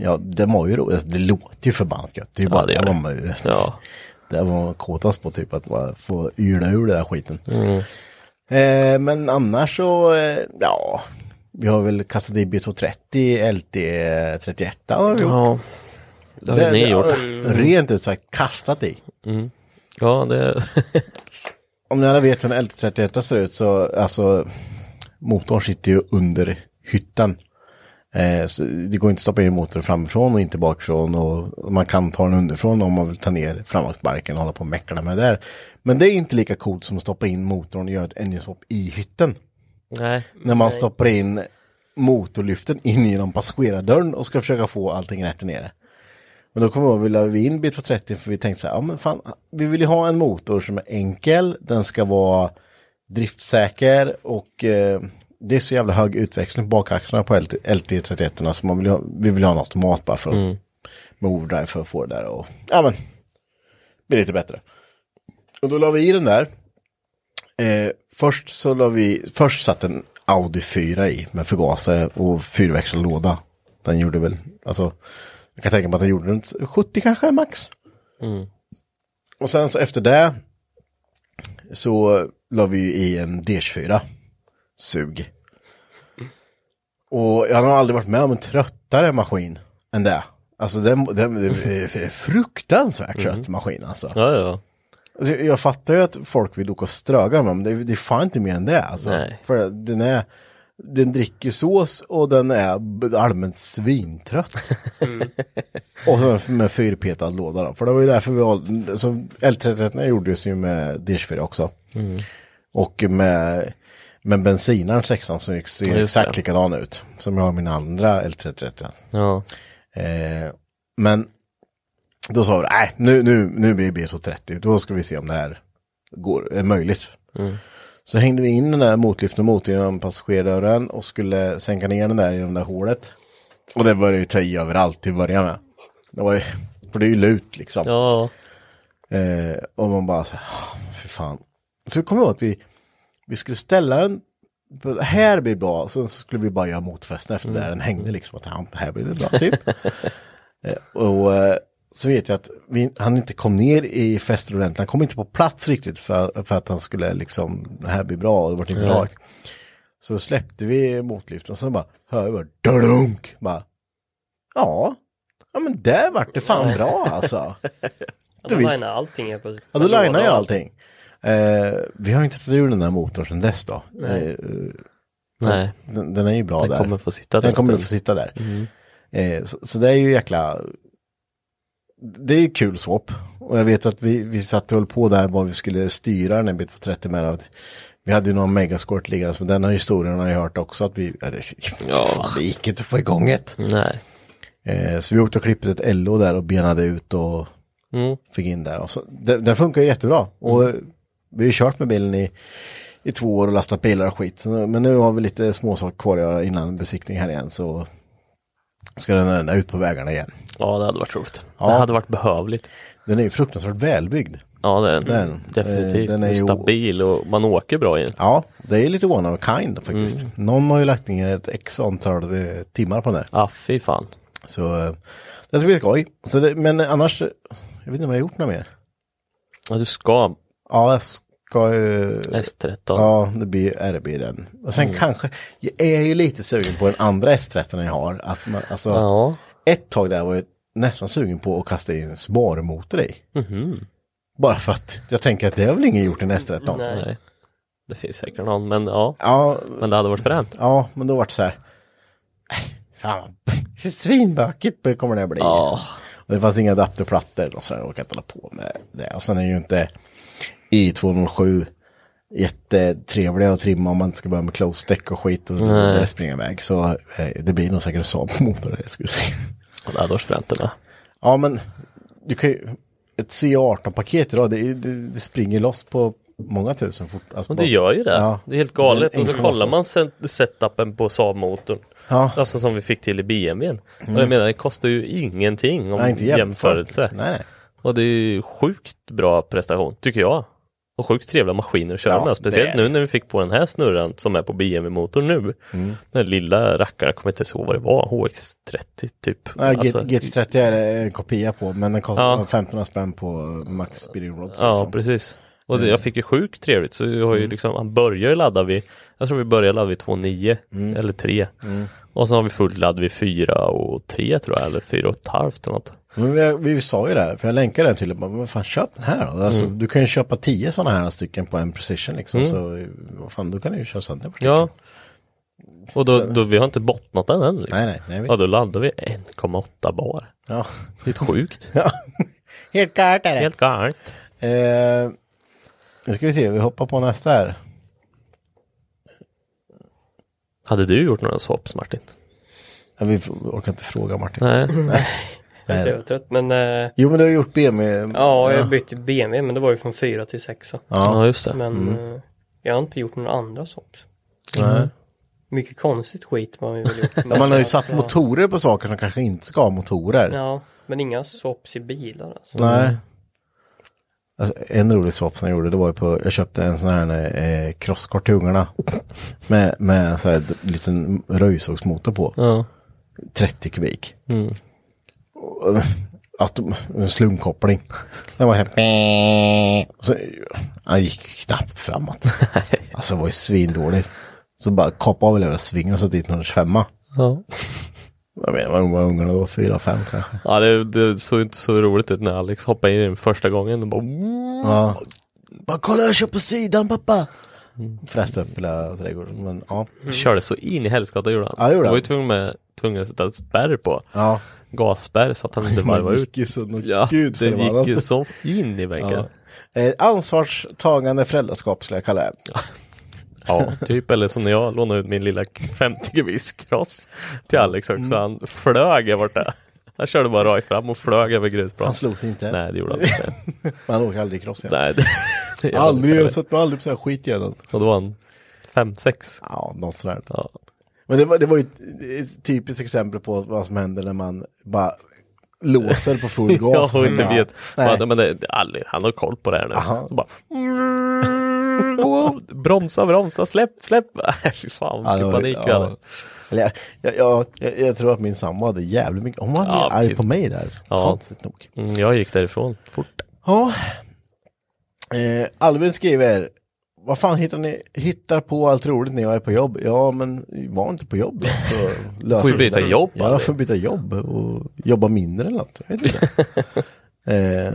ja, det var ju roligt. Alltså, Det låter ju förbannat gött. Det är ju Ja, bara det det, gör det. var man ju, Ja. det var man kåtast på typ, att bara få yla ur den där skiten. Mm. Eh, men annars så, eh, ja. Vi har väl kastat i B230, LT31 har vi gjort. Ja. Det har ju ni gjort. Rent ut sagt kastat i. Ja, det... Om ni alla vet hur en LT31 ser ut så, alltså, motorn sitter ju under hytten. Eh, så det går inte att stoppa in motorn framifrån och inte bakifrån och man kan ta den underifrån om man vill ta ner framvagnsbarken och hålla på och mäckla med det där. Men det är inte lika coolt som att stoppa in motorn och göra ett engine swap i hytten. nej. När man stoppar in motorlyften in genom passagerardörren och ska försöka få allting rätt nere. Men då kommer jag vilja vi in B230 för vi tänkte så här, ja men fan, vi vill ju ha en motor som är enkel, den ska vara driftsäker och eh, det är så jävla hög utväxling på bakaxlarna på LT, LT31 så man vill ju ha, vi vill ha en automat bara för att, med overdrive för att få det där och ja men, bli lite bättre. Och då la vi i den där. Eh, först så la vi, först satt en Audi 4 i med förgasare och fyrväxlad låda. Den gjorde väl, alltså, jag kan tänka mig att den gjorde runt 70 kanske max. Och sen så efter det så la vi ju i en D24. Sug. Och jag har nog aldrig varit med om en tröttare maskin än det. Alltså den, den, den är fruktansvärt trött maskin alltså. Ja, ja. Alltså, jag, jag fattar ju att folk vill åka och ströga dem, men det, är- det är fan inte mer än det. Alltså. Nej. För den är, den dricker sås och den är b- allmänt svintrött. Mm. och så med- med fyrpetad låda då, för det var ju därför vi valde, så L31 gjordes ju med Dirschfyr också. Mm. Och med, med bensinaren sexan som ser just exakt det. likadan ut, som jag har i min andra L31. Ja. Eh, men då sa vi, nej, nu, nu, nu blir det B230, då ska vi se om det här går, är möjligt. Så hängde vi in den där motlyften mot genom passagerardörren och skulle sänka ner den där genom det där hålet. Och det började ju ta i överallt till att börja med. Det var ju, för det är ju lut liksom. Ja, Eh, och man bara så här, "Ah, för fan. Så kommer jag ihåg att vi, vi skulle ställa den, på- det här blir bra, sen så skulle vi bara göra motfästen efter det, den hängde liksom att ja, det här blir det bra typ. eh, och eh, så vet jag att vi, han inte kom ner i fästet ordentligt, han kom inte på plats riktigt för, för att han skulle liksom, det här blir bra, och det vart inte bra. Så släppte vi motlyften och sen bara, hör jag bara, dunk, bara, ja, ja men där vart det fan bra alltså. Ja, då visst. linar allting helt plötsligt. Ja, då Låda linar jag allt. allting. Eh, vi har ju inte tagit ur den där motorn sedan dess då. Eh, nej. den, den är ju bra Den där. kommer få sitta där den en kommer stund. få sitta där. Mm. Eh, så, så det är ju jäkla... Det är ju kul swap. Och jag vet att vi, vi satt och höll på där vad vi skulle styra den en bit på 30 med. Att vi hade ju någon megasquirt liggandes, men den här historien har jag hört också att vi... Ja, det, Ja. fan, det gick inte att få igång ett. Nej. Eh, så vi åkte och klippte ett LO där och benade ut och Mm. fick in där. Och så, den, den funkar ju jättebra. Och vi har ju kört med bilen i, i två år och lastat bilar och skit. Så nu, men nu har vi lite småsaker kvar att göra innan besiktning här igen. Så ska den, den ut på vägarna igen. Ja, det hade varit roligt. Ja. Det hade varit behövligt. Den är ju fruktansvärt välbyggd. Ja, det är den. Den. Definitivt. Eh, den Den är är ju- stabil och man åker bra i den. Ja, Mm. det är lite one of a kind faktiskt. Någon har ju lagt ner ett x antal eh, timmar på den här. Ah, fy fan. Så eh, det ska bli skoj. Så det, men annars, eh, jag vet inte om jag har gjort något mer. Ja, du ska Ja, jag ska ju... S13. Ja, det blir ju RB den. Och sen Mm. kanske, jag är ju lite sugen på den andra S13 jag har. Att man, alltså, Ja. Ett tag där var jag nästan sugen på att kasta in sparmotor i. Mhm. Bara för att jag tänker att det har väl ingen gjort i en S13. Nej. Det finns säkert någon, men ja. Ja, Men det hade varit fränt. ja, men då vart det så här. "Äh, Fan, svinbökigt kommer det att bli. Ja. Och det fanns inga adapterplattor och sådär, jag orkade inte hålla på med det. Och sen är ju inte i207 jättetrevliga att trimma om man inte ska börja med close stick och skit och börja springa iväg. Så eh, det blir nog säkert Saab på motorn, jag skulle se. Det hade varit fränt det med. Ja men, du kan ju, ett C18-paket idag, det, är ju- det, det springer loss på många tusen fort. Alltså Men bara- det gör ju det. Ja. Det är helt galet. Det är en Och så enkel kollar motor. man set- setupen på Saab-motorn. Ja. Alltså som vi fick till i BMWn. Och jag menar, det kostar ju ingenting om Mm. Nej, inte liksom. jämfört. jämförelse. Nej, nej. Och det är ju sjukt bra prestation, tycker jag. Och sjukt trevliga maskiner att köra Ja, med. Speciellt det är nu när vi fick på den här snurran som är på BMW-motorn nu. Mm. Den lilla rackaren, jag kommer inte ihåg vad det var, HX30 typ. Nej, Alltså, G- GT30 är det en kopia på, men den kostar Ja. 1500 spänn på Max Speeding Rods. Ja, liksom. precis. Och det, jag fick ju sjukt trevligt så jag har ju liksom, han börjar ju ladda vid, jag tror vi börjar ladda vid 2,9 eller 3. Och sen har vi full ladd vid 4 och 3 tror jag, eller 4 och ett halvt eller något. Men vi, vi sa ju det, här, för jag länkade den till och bara, men fan köp den här då. Alltså, Mm. Du kan ju köpa tio sådana här stycken på en precision liksom. Så vad fan, då kan du ju köra sönder på Ja. Och då, då, vi har inte bottnat den än liksom. Nej, nej, nej visst. Ja, då laddar vi 1,8 bar. Ja. Lite sjukt. ja. Helt klart är det. Helt galet. Eh, nu ska vi se, vi hoppar på nästa här. Hade du gjort några swaps Martin? Ja, vi f- orkar inte fråga Martin. Nej. Jag är så jävla trött, men eh, Jo, men du har gjort BMW. ja, jag bytte BMW, men det var ju från fyra till sexa. Ja, just det. Men eh, jag har inte gjort några andra sorts. Nej. Mycket konstigt skit man vill gjort. Ja, man har ju satt alltså, motorer på saker som kanske inte ska ha motorer. Ja, men inga swaps i bilar alltså. Nej. Alltså, en rolig swap som jag gjorde, det var ju på, jag köpte en sån här eh, crosskort till ungarna. Med, med en sån här d- liten röjsågsmotor på. Ja. 30 kubik. Och, att, en slumkoppling. Den var helt... Så, han gick knappt framåt. Alltså det var ju svindåligt. Så bara kapade av väl över svingen och satte dit 125. Ja. Jag menar, vad var ungarna då? Fyra, fem kanske. Ja, det, det såg inte så roligt ut när Alex hoppade in i den första gången och bara Ja. Bara kolla jag kör på sidan pappa. Fräste Mm. upp hela trädgården. Men ja. körde så in i helskotta gjorde han. Mm. Ja, det gjorde han. var ju han. tvungen, med, tvungen att sätta en spärr på. Ja. Gasspärr så att han inte varvade ut. gick ju så något Ja, gud det gick ju förbannat. så in i väggen. Ja. Eh, ansvarstagande föräldraskap skulle jag kalla det. Ja, typ. Eller som när jag Mm. lånade ut min lilla 50 kubis cross till Alex också. Han flög där borta. Han körde bara rakt fram och flög över grusplanen. Han slogs inte. Nej, det gjorde han inte. Han åker aldrig cross igen. Nej, det, det gör han aldrig, inte. jag har sett mig aldrig på sån här skit igen. Alltså. Och då var han fem, sex. Ja, något sånt där. Ja. Men det var, det var ju ett- ett typiskt exempel på vad som händer när man bara låser på full gas. Jag inte Ja. vet. Nej. Bara, men det, det, aldrig, han har koll på det här nu. Aha. Så bara, Wow, bromsa, bromsa, släpp, släpp. Nej, Fy fan, Ja, det var- vilken panik vi ja. hade. Eller jag, jag, jag, jag, jag tror att min sambo hade jävligt mycket, hon var Ja, arg typ. på mig där. Ja. Konstigt nog. Mm, jag gick därifrån fort. Ja. Eh, Albin skriver, vad fan hittar ni, hittar på allt roligt när jag är på jobb? Ja, men var inte på jobb då, så löser Får ju vi det. byta jobb, Ja, Albin. får byta jobb och jobba mindre eller något. Jag vet inte. eh,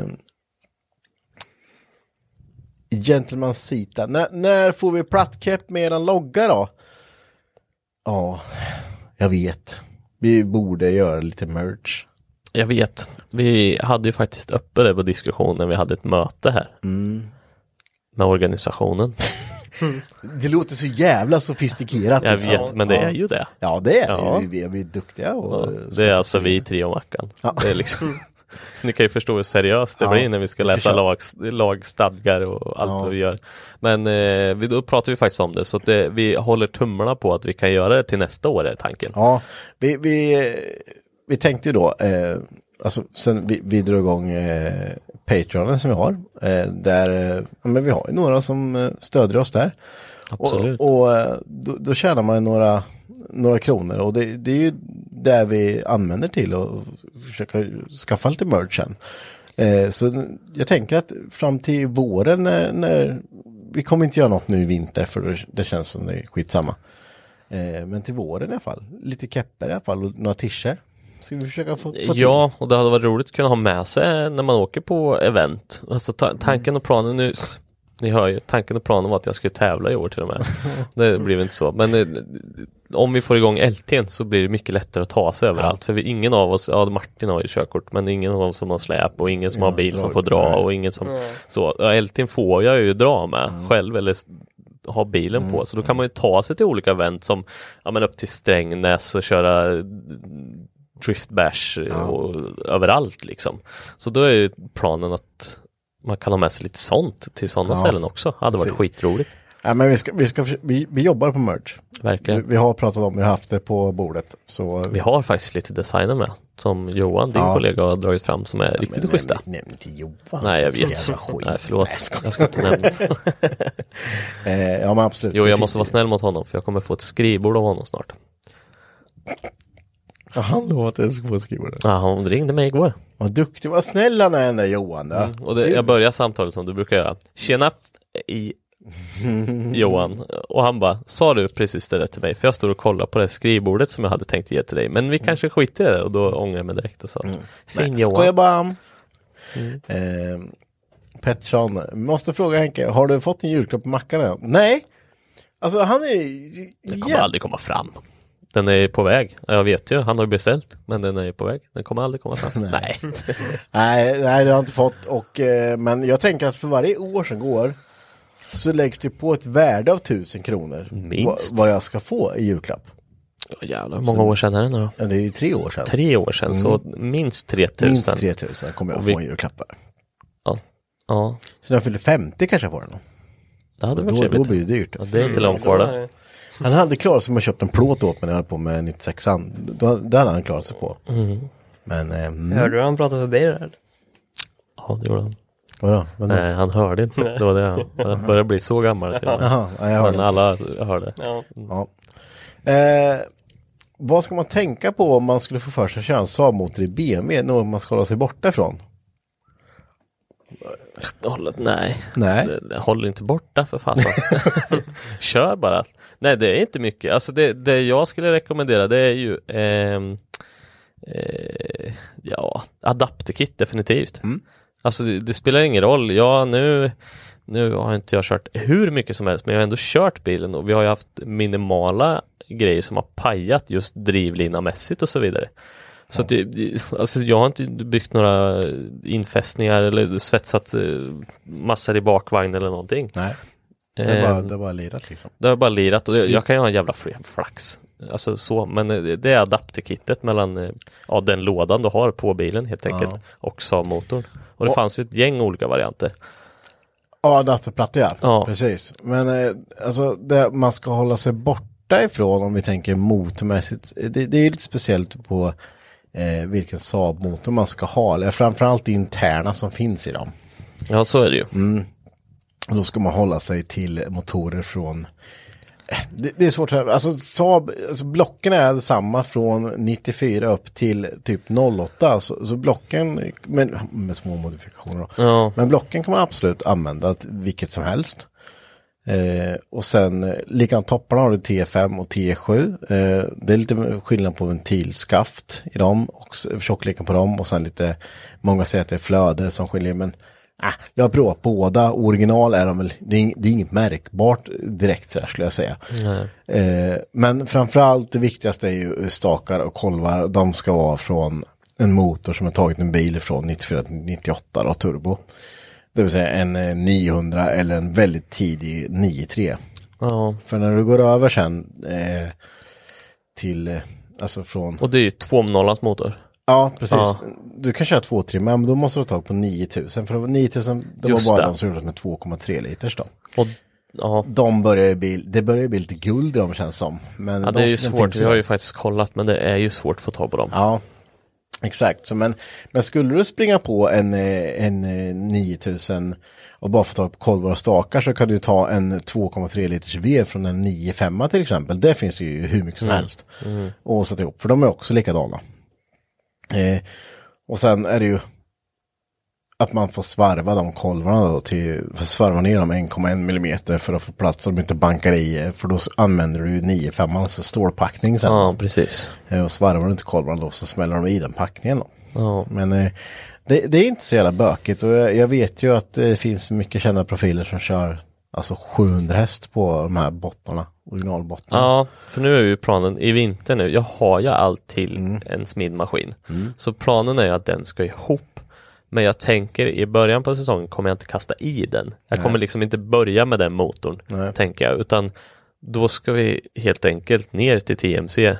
Gentleman Sita, när, när får vi plattkepp med eran logga då? Ja, jag vet. Vi borde göra lite merch. Jag vet. Vi hade ju faktiskt uppe det på diskussion när vi hade ett möte här. Mm. Med organisationen. Det låter så jävla sofistikerat. Jag liksom. vet, men det Ja. är ju det. Ja det är Ja. vi, vi, vi är duktiga och Ja, Det är alltså vi tre och Mackan. Det är liksom, så ni kan ju förstå hur seriöst det Mm. Ja, blir när vi ska vi läsa försöker. lag, lagstadgar och allt Ja. vad vi gör. Men eh, vi, då pratar vi faktiskt om det, så att det, vi håller tummarna på att vi kan göra det till nästa år är tanken. Ja, vi, vi, vi tänkte ju då, eh, alltså sen vi, vi drog igång eh, Patreonen som vi har, eh, där eh, ja, men vi har ju några som eh, stödjer oss där. Absolut. Och, och eh, då, då tjänar man ju några, några kronor och det, det är ju där vi använder till och försöker skaffa lite merch sen. Eh, så jag tänker att fram till våren när, när vi kommer inte göra något nu i vinter för det, det känns som det är skitsamma. Eh, men till våren i alla fall, lite keppar i alla fall och några tischer. Ska vi försöka få, få till? Ja, och det hade varit roligt att kunna ha med sig när man åker på event. Alltså ta- tanken och planen nu, ni hör ju, tanken och planen var att jag skulle tävla i år till och med. Det blev inte så, men eh, om vi får igång LT'n så blir det mycket lättare att ta sig överallt. För vi, ingen av oss, ja Martin har ju körkort, men ingen av oss som har släp och ingen som har bil som får dra och ingen som så. Ja, LT'n får jag ju dra med själv eller s- ha bilen på, så då kan man ju ta sig till olika event som ja, men upp till Strängnäs och köra driftbash och överallt liksom. Så då är ju planen att man kan ha med sig lite sånt till sådana Ja, ställen också. Hade varit precis. skitroligt. Ja, men vi, ska, vi, ska, förs- vi, vi jobbar på merch. Vi, Verkligen. vi har pratat om, vi har haft det på bordet. Så Vi har faktiskt lite designer med som Johan, din Ja. kollega, har dragit fram som är riktigt schyssta. Nämn, nämn inte Johan. Nej, jag Jävla vet. skit. Nej, förlåt. Jag ska inte nämna. Eh, ja, men absolut. Jo, Vi jag fick- måste vara snäll mot honom för jag kommer få ett skrivbord av honom snart. Ja, Han lovade att jag skulle få skriva det. Ja, han ringde mig igår. Vad duktig, vad snäll han är den där Johan. Då. Mm, Och det, jag börjar samtalet som du brukar göra. Tjena f- i Johan. Och han bara, sa du precis det där till mig? För jag står och kollar på det här skrivbordet som jag hade tänkt ge till dig. Men vi kanske skiter i det. Och då ångrar jag mig direkt och sa, fin Mm. Nej, skojar Johan. Mm. bara. Eh, Pettersson, måste fråga Henke, har du fått en julklapp på mackan än? Nej. Alltså han är ju... Den kommer aldrig komma fram. Den är på väg. Ja, Jag vet ju, han har ju beställt. Men den är ju på väg. Den kommer aldrig komma fram. Nej. Nej, nej, det har jag inte fått. Och, eh, men jag tänker att för varje år som går så läggs det på ett värde av tusen kronor. Minst. Vad, vad jag ska få i julklapp. Jävlar, hur många år sedan är det nu då? Ja, Det är ju tre år sedan. Tre år sedan, så minst 3000. Mm. Minst 3000 kommer jag Och vi- få i julklappar. Ja, ja Så när jag fyller 50 kanske jag får den. det hade varit Då, då trevligt. blir det dyrt. ja, det är inte långt kvar Mm. där. Han hade klarat sig med att köpa en plåt åt mig när jag höll på med 96an. Då- Det hade han klarat sig på. Men, eh, mm. Hörde du han prata förbi det här? Ja, det gjorde han. vadå? Men, Nej, han hörde inte. Det var det han. Han börjar bli så gammal till och med. Jaha, ja, jag hörde Men inte. alla hörde. Ja. Ja. Eh, vad ska man tänka på om man skulle få för sig att köra en Saab-motor i BMW? Något man ska hålla sig borta ifrån? Hållet, nej. Nej. Det- Håll inte borta för fasen. Kör bara. Nej, det är inte mycket. Alltså det, det jag skulle rekommendera det är ju ehm, eh, ja, adapterkit definitivt. Alltså det, det spelar ingen roll. Ja, nu, nu har inte jag kört hur mycket som helst, men jag har ändå kört bilen och vi har ju haft minimala grejer som har pajat just drivlinamässigt och så vidare. Så att det, det- alltså jag har inte byggt några infästningar eller svetsat eh, massor i bakvagn eller någonting. Nej, det Eh, var, det var lirat liksom. det har jag bara lirat och jag, jag kan ju ha en jävla fl- flax. Alltså så, men eh, det är adapterkittet mellan eh, ja, den lådan du har på bilen helt enkelt och Saab-motorn. Och det Och- fanns ju ett gäng olika varianter. Ja, datorplatta ja. Ja. Precis. Men eh, alltså det man ska hålla sig borta ifrån om vi tänker motormässigt. eh, Det, det är ju lite speciellt på eh, vilken Saab-motor man ska ha. Eller framförallt det interna som finns i dem. Ja, så är det ju. Och då ska man hålla sig till motorer från eh, det, det är svårt att alltså Saab, alltså blocken är samma från 94 upp till typ 08. Så, så blocken, men, med små modifikationer då. Ja. Men blocken kan man absolut använda till vilket som helst. Eh, och sen eh, likadant topparna har du T5 och T7. Eh, det är lite skillnad på ventilskaft i dem och s- tjockleken på dem och sen lite, många säger att det är flöde som skiljer men ah, jag har provat båda, original är de väl, det är, ing- det är inget märkbart direkt sådär skulle jag säga. Eh, men framförallt det viktigaste är ju stakar och kolvar, de ska vara från en motor som har tagit en bil från 94 till 98 då, turbo. Det vill säga en eh, 900 eller en väldigt tidig 93. ja. För när du går över sen eh, till, eh, alltså från, Och det är ju 2.0 motor. ja precis. Ja. Du kan köra 2-3 men då måste du ha tag på 9000. För det var 9000, det Just var bara det. de som gjordes med 2,3 liters då. Och, ja. De börjar ju bli, det börjar ju bli lite guld i dem känns som. Men ja, de, det är ju de svårt. finns Vi har där. ju faktiskt kollat, men det är ju svårt att få tag på dem. Ja, exakt. Så men, men skulle du springa på en, eh, en eh, 9000 och bara få tag på kolvar och stakar så kan du ta en 2,3 liters V från en 9,5 till exempel. Det finns det ju hur mycket Mm. som helst. Och sätta ihop, för de är också likadana. Eh, och sen är det ju att man får svarva de kolvarna då till, för svarva ner dem 1,1 millimeter för att få plats så de inte bankar i, eh, för då s- använder du ju 9,5 alltså stålpackning sen. Ja, precis. Eh, Och svarvar du inte kolvarna då så smäller de i den packningen då. Ja. Men eh, det, det är inte så jävla bökigt och jag, jag vet ju att eh, det finns mycket kända profiler som kör alltså 700 häst på de här bottnarna, originalbottnarna. Ja, för nu är ju planen i vinter nu. Jag har ju allt till en smidmaskin. Så planen är ju att den ska ihop. Men jag tänker i början på säsongen kommer jag inte kasta i den. Jag kommer liksom inte börja med den motorn, tänker jag. Utan då ska vi helt enkelt ner till TMC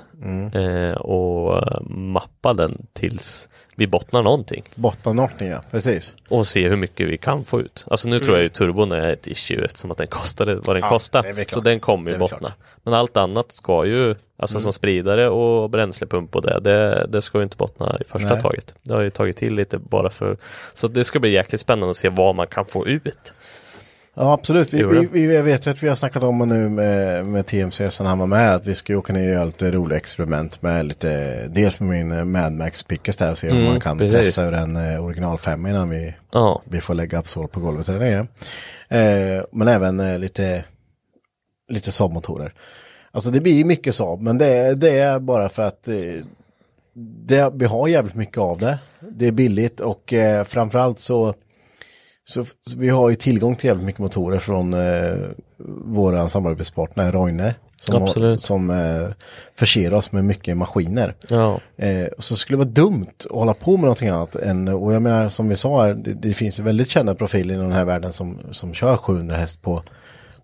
eh, och mappa den tills vi bottnar någonting Bottnarnortning ja, precis. och se hur mycket vi kan få ut. Alltså nu tror jag ju turbon är ett issue eftersom att den kostade vad Mm. den Ja, det är kostade. väl Så klart. den kommer Det ju är väl bottna. klart. Mm. Men allt annat ska ju, alltså som spridare och bränslepump och det, det, det ska ju inte bottna i första Nej. taget. Det har jag ju tagit till lite bara för, så det ska bli jäkligt spännande att se vad man kan få ut. Ja absolut, vi, Jo, ja. vi, vi, jag vet ju att vi har snackat om det nu med, med TMC sen han var med att vi ska ju åka ner och göra lite roliga experiment med lite, dels med min eh, Mad Max Pickers där och se om Mm, man kan precis. pressa ur en eh, original 5 innan vi Ja, vi får lägga Absol på golvet där nere. Eh, men även eh, lite, lite Saab-motorer. Alltså det blir ju mycket Saab, men det, är- det är bara för att eh, det, vi har jävligt mycket av det. Det är billigt och eh, framförallt så, så, så vi har ju tillgång till jävligt mycket motorer från eh, våra samarbetspartner Roine. Som, har, Absolut. som eh, förser oss med mycket maskiner. ja, Eh, och så skulle det vara dumt att hålla på med någonting annat än, och jag menar som vi sa här, det, det finns ju väldigt kända profiler inom den här världen som, som kör 700 häst på,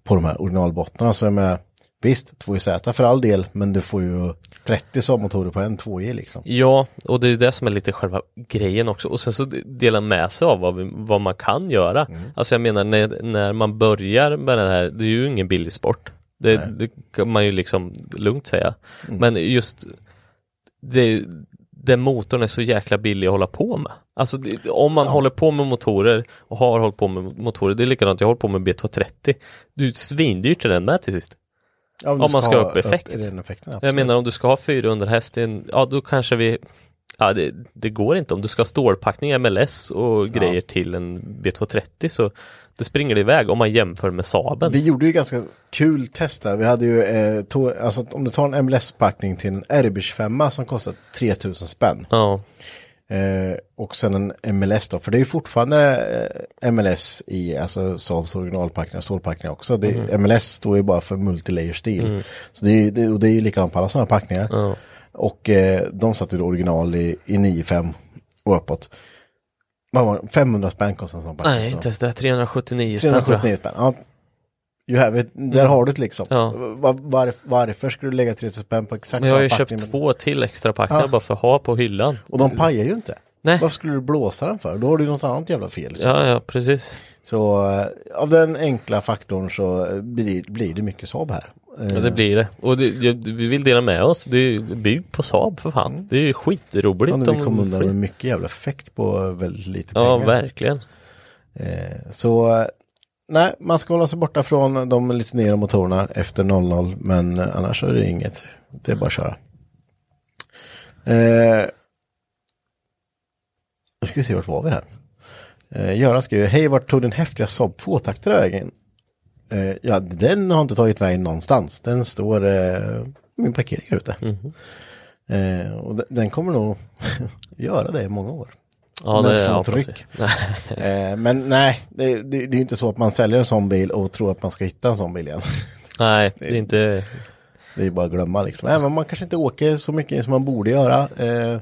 på de här originalbottnarna. Så jag menar, visst, 2JZ för all del, men du får ju 30 Saab-motorer på en 2J liksom. Ja, och det är det som är lite själva grejen också. Och sen så dela med sig av vad, vi, vad man kan göra. Alltså jag menar när, när man börjar med det här, det är ju ingen billig sport. Det, det kan man ju liksom lugnt säga. Men just det, den motorn är så jäkla billig att hålla på med. Alltså det, om man håller på med motorer och har hållit på med motorer, det är likadant, jag håller på med B230. Det är ju svindyrt till den med till sist. Ja, Om man ska ha upp effekt. i den effekten, Jag absolut. menar om du ska ha 400 häst, i en- ja då kanske vi Ja det, det går inte om du ska ha stålpackning MLS och grejer till en B230 så det springer det iväg om man jämför med Saabens. Vi gjorde ju ganska kul test där. Vi hade ju, eh, to- alltså om du tar en MLS-packning till en Erbisch 5 som kostar 3000 spänn. Ja, Eh, och sen en MLS då, för det är ju fortfarande eh, MLS i alltså Saabs originalpackningar, stålpackningar också. Det, Mm. MLS står ju bara för multilayer steel. Så det är, ju- det, och det är ju likadant på alla sådana packningar. Och eh, de satte ju då original i, i 9,5 och uppåt. Vad var det? 500 spänn kostade en sån packning. nej så. inte ens det, 379 spänn tror jag. Mm. 379 spänn. Ja. You have it. Där har du det liksom. Ja. Var, var, varför ska du lägga 3000 spänn på exakt Men jag har ju samma köpt packning? två till extra packningar Ja. bara för att ha på hyllan. Och de pajar ju inte. Nej. Varför skulle du blåsa den för? Då har du ju något annat jävla fel. liksom. Ja, ja, precis. Så eh, av den enkla faktorn så eh, blir, blir det mycket Saab här. Eh, Ja, det blir det. Och det, jag, vi vill dela med oss. Det är ju byggt på Saab för fan. Det är ju ja, skitroligt. nu, vi om kom undan fler- med mycket jävla effekt på eh, väldigt lite Ja, pengar. verkligen. Eh, Så eh, nej, man ska hålla sig borta från de lite nere motorerna efter 00, men eh, annars är det inget. Det är bara att köra. Eh, jag ska se vart var vi här. Eh, Göran skriver, hej vart tog den häftiga Saab 2-taktare vägen? Eh, ja, den har inte tagit vägen någonstans. Den står eh, i min parkering här ute. Mhm. Eh, och de- den kommer nog göra det i många år. Ja, Men det inte få är något hoppas vi. ryck. Eh, men nej, det, det, det är ju inte så att man säljer en sån bil och tror att man ska hitta en sån bil igen. Nej, det är inte... Det är ju bara att glömma liksom. Även om man kanske inte åker så mycket som man borde göra. Eh,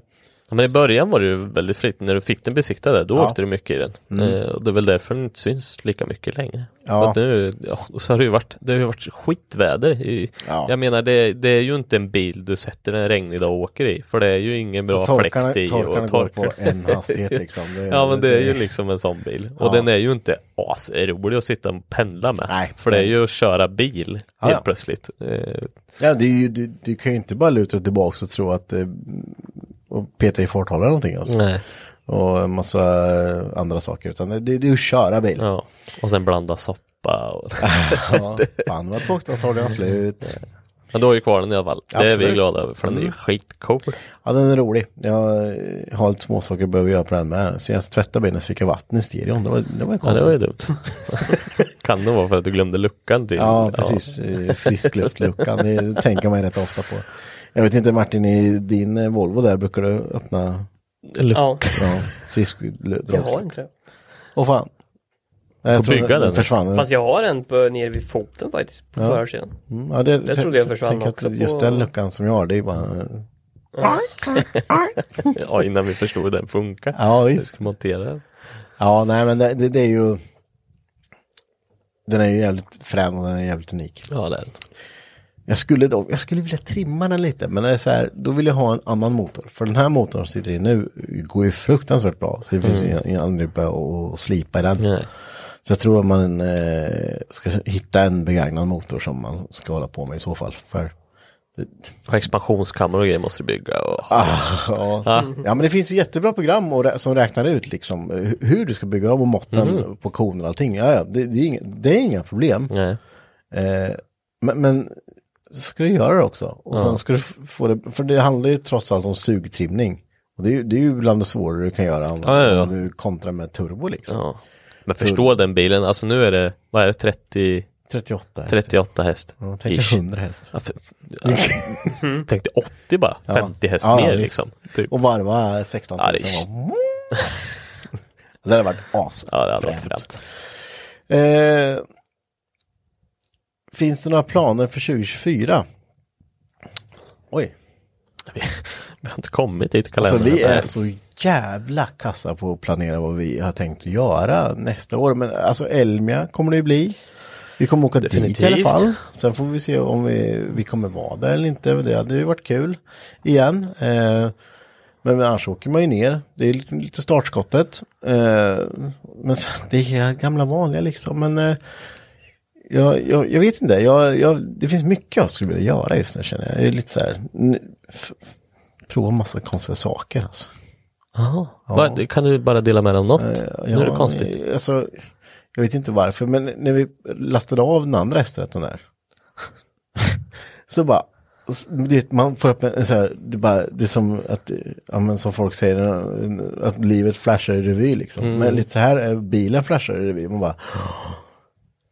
Ja, men i början var det ju väldigt fritt. När du fick den besiktad där, då Ja. Mm. åkte du mycket i den. Eh, och det är väl därför den inte syns lika mycket längre. Ja. För att nu, ja, och så har det ju varit, det har ju varit skitväder. I, Ja. Jag menar, det, det är ju inte en bil du sätter en regnig dag och åker i. För det är ju ingen bra torkarna fläkt i torkarna och går torkar. på en hastighet liksom. Det- Ja men det är ju liksom en sån bil. Och den är ju inte asrolig att sitta och pendla med. Nej. För det är ju att köra bil Ja, helt ja. plötsligt. Eh, Ja, det är ju, du, du kan ju inte bara luta dig tillbaka och tro att eh, och peta i farthållare eller någonting. Alltså. Nej. Och en massa eh, andra saker. Utan det, det är ju att köra bil. Ja. Och sen blanda soppa och... Ja, fan vad tråkigt att har slut. Men du har ju kvar den i alla fall. Det är vi Absolut. Mm. glada över för den är ju skitcool. Ja, den är rolig. Jag eh, har lite småsaker jag behöver göra på den med. Så jag tvättade bilen så fick jag vatten i stereon. Det var, det var Ja konstigt. det var ju dumt. kan det vara för att du glömde luckan till? Ja, precis. Eh, Friskluftluckan, det tänker man ju rätt ofta på. Jag vet inte Martin, i din eh, Volvo där brukar du öppna Lucka. Ja, ja, frisk jag har inte det. Åh fan. Nej, Får Jag tror bygga den, den. försvann. Fast jag har en på, nere vid foten faktiskt, på Ja. förarsidan. Mm, ja, det, jag trodde jag försvann tänker att också på- Just den luckan som jag har, det är bara... eh, ja innan vi förstod hur den funkar. Ja, visst. Montera den. Ja, nej men det, det, det är ju... Den är ju jävligt frän och den är jävligt unik. Ja det är den. Jag skulle, dock, jag skulle vilja trimma den lite, men det är så här, då vill jag ha en annan motor. För den här motorn som sitter i nu går ju fruktansvärt bra. Så det finns ju ingen- ingen anledning att börja att slipa i den. Nej. Så jag tror att man eh, ska hitta en begagnad motor som man ska hålla på med i så fall. För, Och expansionskammare och grejer måste du bygga och... ja. ja, men det finns ju jättebra program och rä- som räknar ut liksom eh, hu- hur du ska bygga dem och måtten på koner och allting. Ja, ja, det, det, är inga, det är inga problem. Mm. Nej. Eh, men, men ska du göra det också. Och sen ska du f- få det, för det handlar ju trots allt om sugtrimning. Och det är, ju- det är ju bland det svårare du kan göra om, Ja, ja, ja. om du kontrar med turbo liksom. Ja. Men förstå den bilen, alltså nu är det, vad är det, 30, 38 häst. 38 häst? Ja, tänk dig Ish. 100 häst. Ja, för, jag tänkte 80 bara, 50 häst Ja, ner visst. liksom. Typ. Och varva 16 000. Ja, det är- bara, det hade varit as. Ja, det hade varit fränt. Eh, finns det några planer för 2024? Oj, Vi, vi har inte kommit dit i kalendern. alltså vi är Nej. så jävla kassa på att planera vad vi har tänkt göra nästa år. Men alltså Elmia kommer det ju bli. Vi kommer åka dit i alla Definitivt. fall. Sen får vi se om vi, vi kommer vara där eller inte. Det hade ju varit kul igen. Eh, men annars åker man ju ner. Det är lite, lite startskottet. Eh, men sen, det är gamla vanliga liksom. Men eh, jag, jag, jag vet inte. Jag, jag, det finns mycket jag skulle vilja göra just nu känner jag. jag är lite så här, n- f- prova massa konstiga saker. Alltså. Jaha. Vad- Kan du bara dela med dig om något? nu är det Eh, Ja, konstigt. eh, Alltså, jag vet inte varför, men när vi lastade av den andra S13 där. så bara, s- du vet, man får upp en, en så här, det, är bara, det är som att, eh, ja, men som folk säger, eh, att livet flashar i revy liksom. Mm. Men lite så här, är bilen flashar i revy, man bara,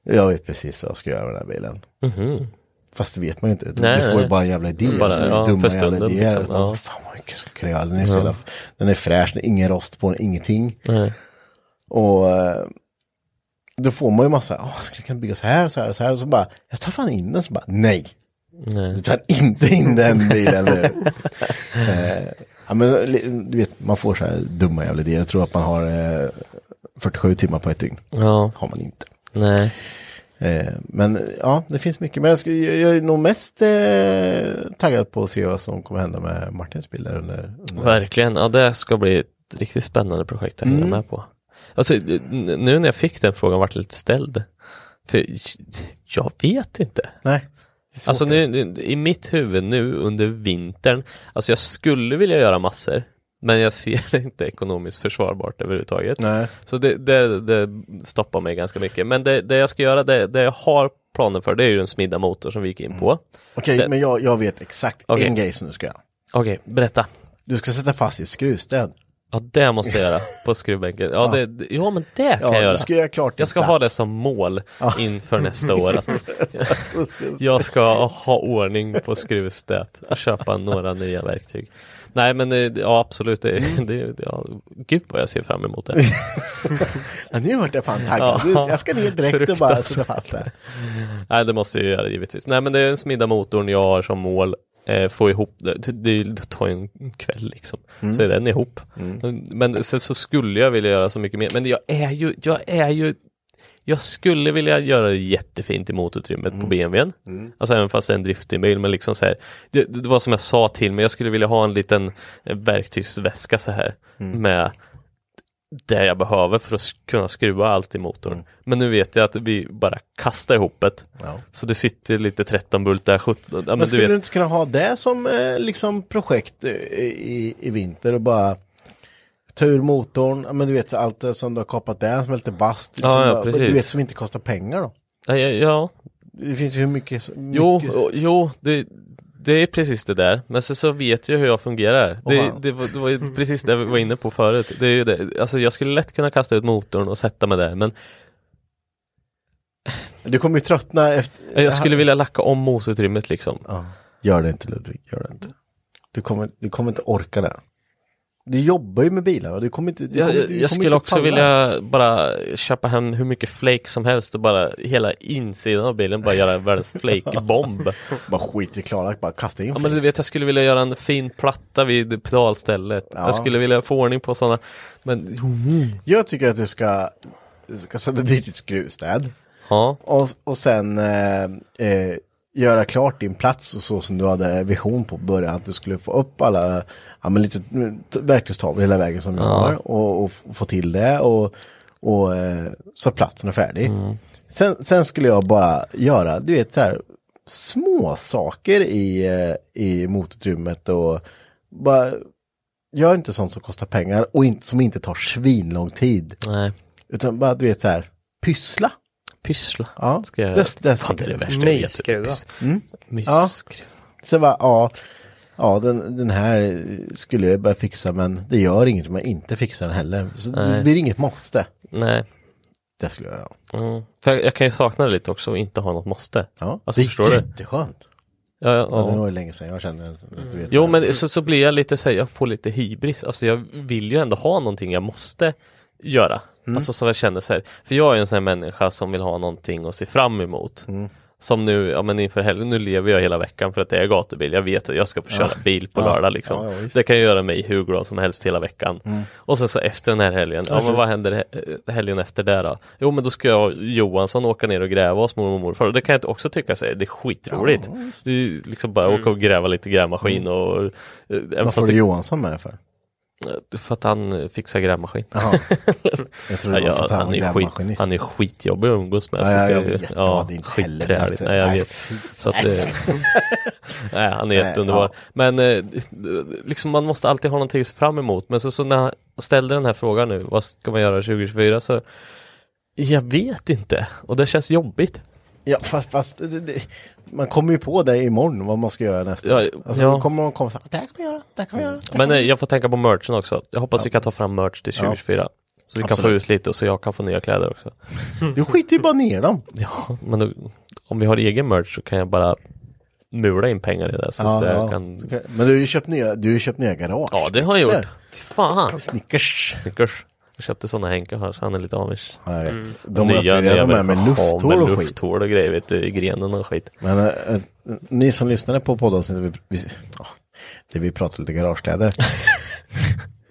jag vet precis vad jag ska göra med den här bilen. Fast det vet man ju inte. Mhm. Nej, du får ju nej. bara en jävla idé. Bara, ja, Mm. dumma jävla för stunden, idéer. liksom, ja. Fan vad mycket skulle jag kunna göra. Den är, så jävla, den är fräsch, det är ingen rost på den, ingenting. Nej. Och eh, då får man ju massa, "Ah, skulle jag kunna bygga så här, så här, så här. Och så bara, jag tar fan in den. Så bara, nej, Nej. du tar inte in den bilen nu. eh, ja, men, li- du vet, man får så här dumma jävla idéer. Jag tror att man har eh, 47 timmar på ett dygn. Ja, Har man inte. nej. Eh, men ja, det finns mycket. Men jag, skulle, jag jag är nog mest eh, taggad på att se vad som kommer hända med Martins bilar under... under. Verkligen, ja det ska bli ett riktigt spännande projekt att Mm. hänga med på. Alltså, n- nu när jag fick den frågan vart jag lite ställd. För jag vet inte. Nej. Alltså nu, nu- i mitt huvud nu under vintern, alltså jag skulle vilja göra massor, men jag ser det inte ekonomiskt försvarbart överhuvudtaget. Nej. Så det, det, det stoppar mig ganska mycket. Men det, det jag ska göra, det, det jag har planer för, det är ju den smidda motor som vi gick in på. Mm. Okej, Det- men jag, jag vet exakt Okej. en grej som du ska göra. Okej, berätta. Du ska sätta fast ditt skruvstäd. Ja, det måste jag göra på skruvbänken. Ja, det, det- ja men det kan Ja, jag du göra. ska göra klart din jag ska plats. ha det som mål inför nästa år. Att Så ska jag- jag ska ha ordning på skruvstädet och köpa några nya verktyg. Nej, men eh, ja, absolut. Det, det, ja, gud vad jag ser fram emot det. Ja, nu vart jag fan taggad. Du- Jag ska ner direkt och bara sätta fast det. Mm. Nej, det måste jag ju göra givetvis. Nej, men det är den smidda motorn jag har som mål. Eh, få ihop det. Det- Det, det tar ju en kväll liksom. Så är den ihop. Men sen så skulle jag vilja göra så mycket mer. Men jag är ju, jag är ju jag skulle vilja göra det jättefint i motutrymmet på BMWn. Alltså även fast det är en driftig bil, men liksom så här. Det, det var som jag sa till mig, jag skulle vilja ha en liten eh, verktygsväska så här med det jag behöver för att sk- kunna skruva allt i motorn. Men nu vet jag att vi bara kastar ihop det. Ja. Så det sitter lite 13 bultar, 17, ja, Men men skulle du du vet. inte kunna ha det som eh, liksom projekt eh, i, i vinter och bara ta ur motorn, ja, men du vet så allt det som du har kapat där som är lite vasst. Liksom, ja, bara- precis. Du vet som inte kostar pengar då. Ja, ja, ja. Det finns ju hur mycket... så- Jo, mycket och- jo det, det är precis det där. Men så, så vet jag hur jag fungerar. Det, wow. det, var, det var ju precis det vi var inne på förut. Det är ju det. Alltså, jag skulle lätt kunna kasta ut motorn och sätta mig där. Men Du kommer ju tröttna efter... jag skulle vilja lacka om mosutrymmet liksom. Ja. Gör det inte Ludvig, gör det inte. Du kommer, du kommer inte orka det. Du jobbar ju med bilar och du kommer inte... Du Jag, kommer, jag, inte- du jag kommer skulle inte också palla. vilja bara köpa hem hur mycket flake som helst och bara hela insidan av bilen bara göra världens flake-bomb. Bara skit i Klarlack, bara kasta in Ja men du flis. vet jag skulle vilja göra en fin platta vid pedalstället. Jag skulle vilja få ordning på sådana. Men Jag tycker att du ska, ska sätta dit ditt skruvstäd. ja, Och, och sen eh, eh, göra klart din plats och så som du hade vision på början. Att du skulle få upp alla, ja men lite mm, t- verktygstavlor hela vägen som du har. Och, och f- få till det och, och eh, så att platsen är färdig. Sen, sen skulle jag bara göra, du vet så här, små saker i, eh, i motutrymmet och bara gör inte sånt som kostar pengar och inte, som inte tar svinlång tid. nej. Utan bara du vet så här, pyssla. Pyssla. Ja, Ska jag det, det, Eh, Fan, det är det värsta jag vet. typ. Mysskruva. Mysskruv. Mm. Så bara, ja, ja den, den här skulle jag börja fixa men det gör inget om jag inte fixar den heller. Så det Nej. blir inget måste. Nej. Det skulle jag göra. Mm. För jag, jag kan ju sakna det lite också och inte ha något måste. Ja, Alltså, det är förstår du? jätteskönt. Ja, ja, Ja. Det ja. var ju länge sedan jag kände. Du vet, Jo men så, så blir jag lite så här, jag får lite hybris. Alltså jag vill ju ändå ha någonting jag måste göra. Mm. Alltså som jag känner så här. För jag är en sån här människa som vill ha någonting att se fram emot. Mm. Som nu, ja men inför helgen, nu lever jag hela veckan för att det är gatubil. Jag vet att jag ska få köra bil på lördag liksom. Ja, ja, visst. Mm. det kan ju göra mig hur glad som helst hela veckan. Och sen så efter den här helgen, ja men vad händer he- helgen efter det då? Jo men då ska jag och Johansson åka ner och gräva hos mormor och morfar. Och det kan jag också tycka så här, det är skitroligt. det är ju liksom bara åka och gräva lite grävmaskin och... eh, Även Varför fast är det, du Johansson med det för? för att han eh, fixar grävmaskin. Jaha. Jag tror det var för Ja, ja, att han han, var är skit, grävmaskinist. han är skitjobbig att umgås med. Ja, så ja, att jag det- vet. Jag hade inte heller lärt skitträligt. det. Nej, jag Nej, vet. Så att, eh, nej, han är jätteunderbar. ja. Men eh, liksom, man måste alltid ha någonting att se fram emot. Men så, så när jag ställde den här frågan nu, vad ska man göra 2024? Så jag vet inte och det känns jobbigt. Ja, fast, fast det, det, man kommer ju på det imorgon vad man ska göra nästa. Ja, alltså, ja. då kommer man komma så här, det här kan vi göra, det här kan vi göra. det här Men kan eh, vi göra." jag får tänka på merchen också. Jag hoppas vi kan ta fram merch till 2024. Så vi kan få Absolut. ut lite och så jag kan få nya kläder också. Du skiter ju bara ner dem. Ja, men då, om vi har egen merch så kan jag bara mula in pengar i det. Så att jag kan... Så kan- Men du har ju köpt nya, du har ju köpt nya garage. Ja, det har jag Ser. gjort. Fy fan. Snickers. Snickers. Jag köpte sådana Henke har, så han är lite avis. Ja, jag Mm. vet. De refererar de här med versioner lufthål och med skit. lufthål och grejer vet du, i grenen och skit. Men eh, eh, ni som lyssnade på poddavsnittet, vi, vi, ja, det vi pratade lite garagekläder.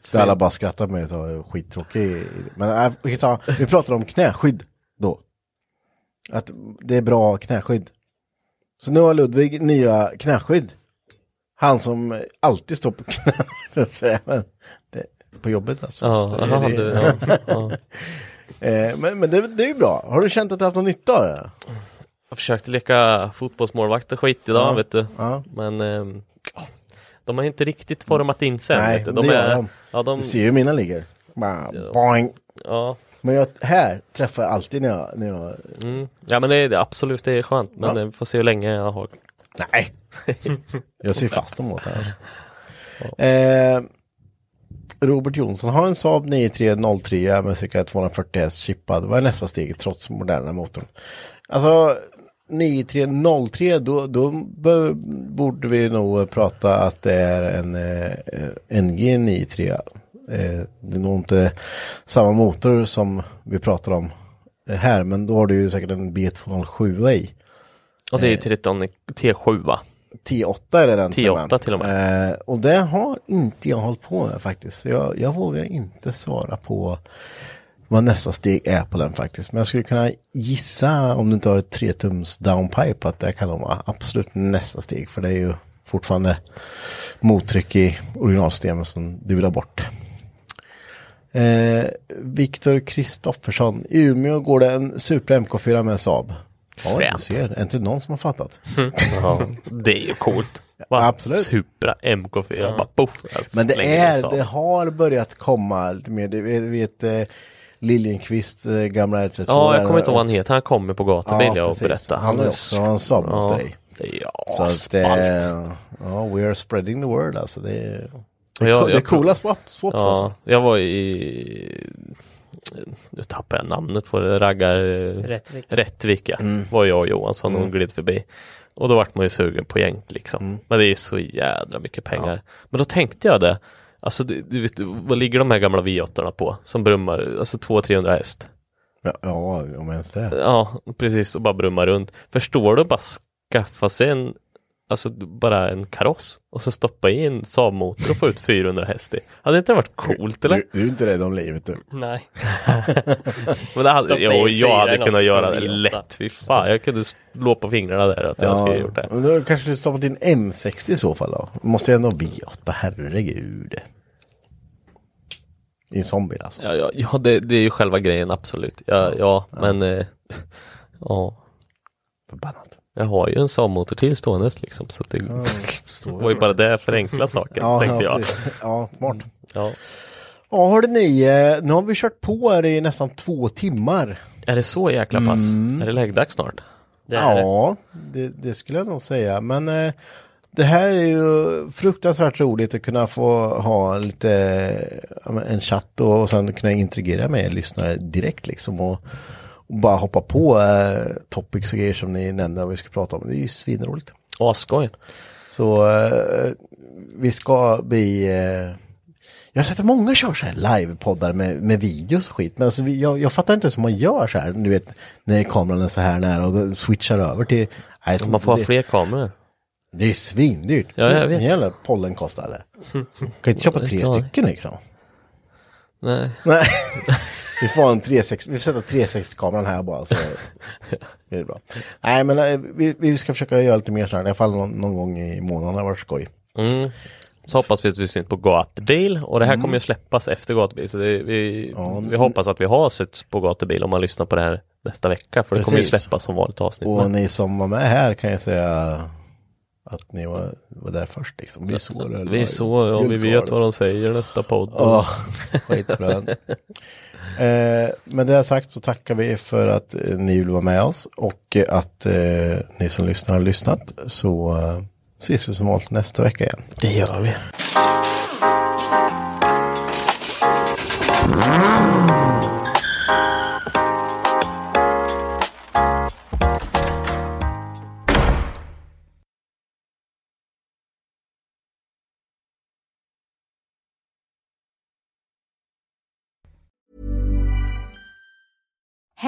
Så alla bara skrattar med eh, det och skittråkig. Men äh, skitsamma. vi pratade om knäskydd då. Att det är bra knäskydd. Så nu har Ludvig nya knäskydd. Han som alltid står på knä. så att säga, men det, på jobbet alltså. Ja, Så det- aha, det- du, ja, ja. Eh, men men det, det är ju bra. Har du känt att du haft någon nytta av det? Jag försökte leka fotbollsmålvakt och skit idag Ja, vet du. ja. Men ehm, ja, de har inte riktigt format in sig än, Nej, vet du. De det gör är, de. Ja, de, Du ser ju mina ligger. Bara, boing. ja, Men jag, här träffar jag alltid när jag, när jag... mm. ja, men det är det, absolut, det är skönt. Men Ja. eh, vi får se hur länge jag har. Nej. jag ser fast dem åt här. Eh, Robert Jonsson har en Saab 9303 med cirka 240 häst chippad. Vad är nästa steg trots moderna motorn? Alltså 9303 då, då bör, borde vi nog prata att det är en eh, NG 93. Eh, det är nog inte samma motor som vi pratar om här men då har du ju säkert en B207 i. Och det är ju Eh. 13 T7 va? T8 är det den T8 till och Eh, och det har inte jag hållit på med faktiskt. Jag, jag vågar inte svara på vad nästa steg är på den faktiskt. Men jag skulle kunna gissa om du inte har ett tretums downpipe att det kan nog vara absolut nästa steg. För det är ju fortfarande mottryck i originalsystemet som du vill ha bort. Eh, Viktor Kristoffersson. I Umeå går det en Supra MK4 med Saab. Ja, du Fränt. ser. Är inte någon som har fattat. Ja, det är ju coolt. Va? absolut. Supra MK4, bara poff. jag Men det slänger i är, salen. det har börjat komma lite mer. Du vet- vet eh, Liljenqvist, eh, gamla R32. Ja, jag där kommer inte ihåg vad han också- heter. Han kommer på gatan vill jag precis. berätta. Han har är- också en Saab mot ja. dig. Ja, Så att, eh, spalt. ja, we are spreading the word alltså. Det är, Och jag- det är jag- coola swap, swaps alltså. Ja, jag var i... Nu tappar jag namnet på det, raggar... Rättvik. Rättvik, ja. Var jag och Johansson och gled förbi. Och då vart man ju sugen på jänk liksom. Men det är ju så jädra mycket pengar. Men då tänkte jag det. Alltså, du, du vet, vad ligger de här gamla v 8 på? Som brummar, alltså 200-300 häst. Ja, ja, om ens det. Ja, precis, och bara brummar runt. Förstår du bara skaffa sig en, alltså bara en kaross och så stoppa i en Saab-motor och få ut 400 häst i. Hade inte det varit coolt eller? Du, du är inte rädd om livet du. Nej. Men det hade, Stoppa i jo, fyra jag hade eller kunnat något, göra det ska vi åtta. lätt. Fy fan, jag kunde slå på fingrarna där att jag skulle ha gjort det. Men då kanske du stoppat in M60 i så fall då. Måste jag ändå ha V8, herregud. I en sån bil alltså. Ja, ja, ja det, det är ju själva grejen absolut. Ja, ja, men eh, ja, Förbannat. jag har ju en Saab-motor till stående liksom. Så att det var ju bara det för enkla saker, tänkte jag. precis. Ja, smart. Ja. Ja, hörde ni, eh, nu har vi kört på här i nästan två timmar. Är det så jäkla pass? Mm. Är det läggdags snart? Det är det. ja, det, det skulle jag nog säga. Men eh, det här är ju fruktansvärt roligt att kunna få ha lite, ja, men en chatt och, och sen kunna interagera med er lyssnare direkt liksom. Och, och bara hoppa på eh, topics och grejer som ni nämner och vi ska prata om. Det är ju svinroligt. Asskoj. Så eh, vi ska bli... Eh, jag har sett att många kör så här livepoddar med, med videos och skit. Men alltså, vi, jag, jag fattar inte hur man gör så här. Du vet, när kameran är så här nära och den switchar över till... Nej, Man får ha det, fler kameror. det är svindyrt. Ja, jag vet. En jävla pollen kostar det. kan inte köpa tre Ja. stycken liksom. Nej. Nej. Vi får en 360, vi får sätta 360-kameran här bara så är det bra. Nej men eh, vi, vi ska försöka göra lite mer så här, i alla fall någon, någon gång i månaden, det har varit skoj. Mm. Så hoppas vi att vi syns på gatubil och det Mm. här kommer ju släppas efter gatubil. Så det, vi, vi hoppas att vi har suttit på gatubil om man lyssnar på det här nästa vecka. För det kommer ju Precis. släppas som vanligt avsnitt. Och Men, ni som var med här kan jag säga att ni var, var där först liksom. Vi såg det. vi är så, ja, vi vet vad de säger nästa podd. Ja, skitfränt. eh, med det sagt så tackar vi för att eh, ni vill vara med oss och eh, att eh, ni som lyssnar har lyssnat. Så eh, ses vi som vanligt nästa vecka igen. Det gör vi.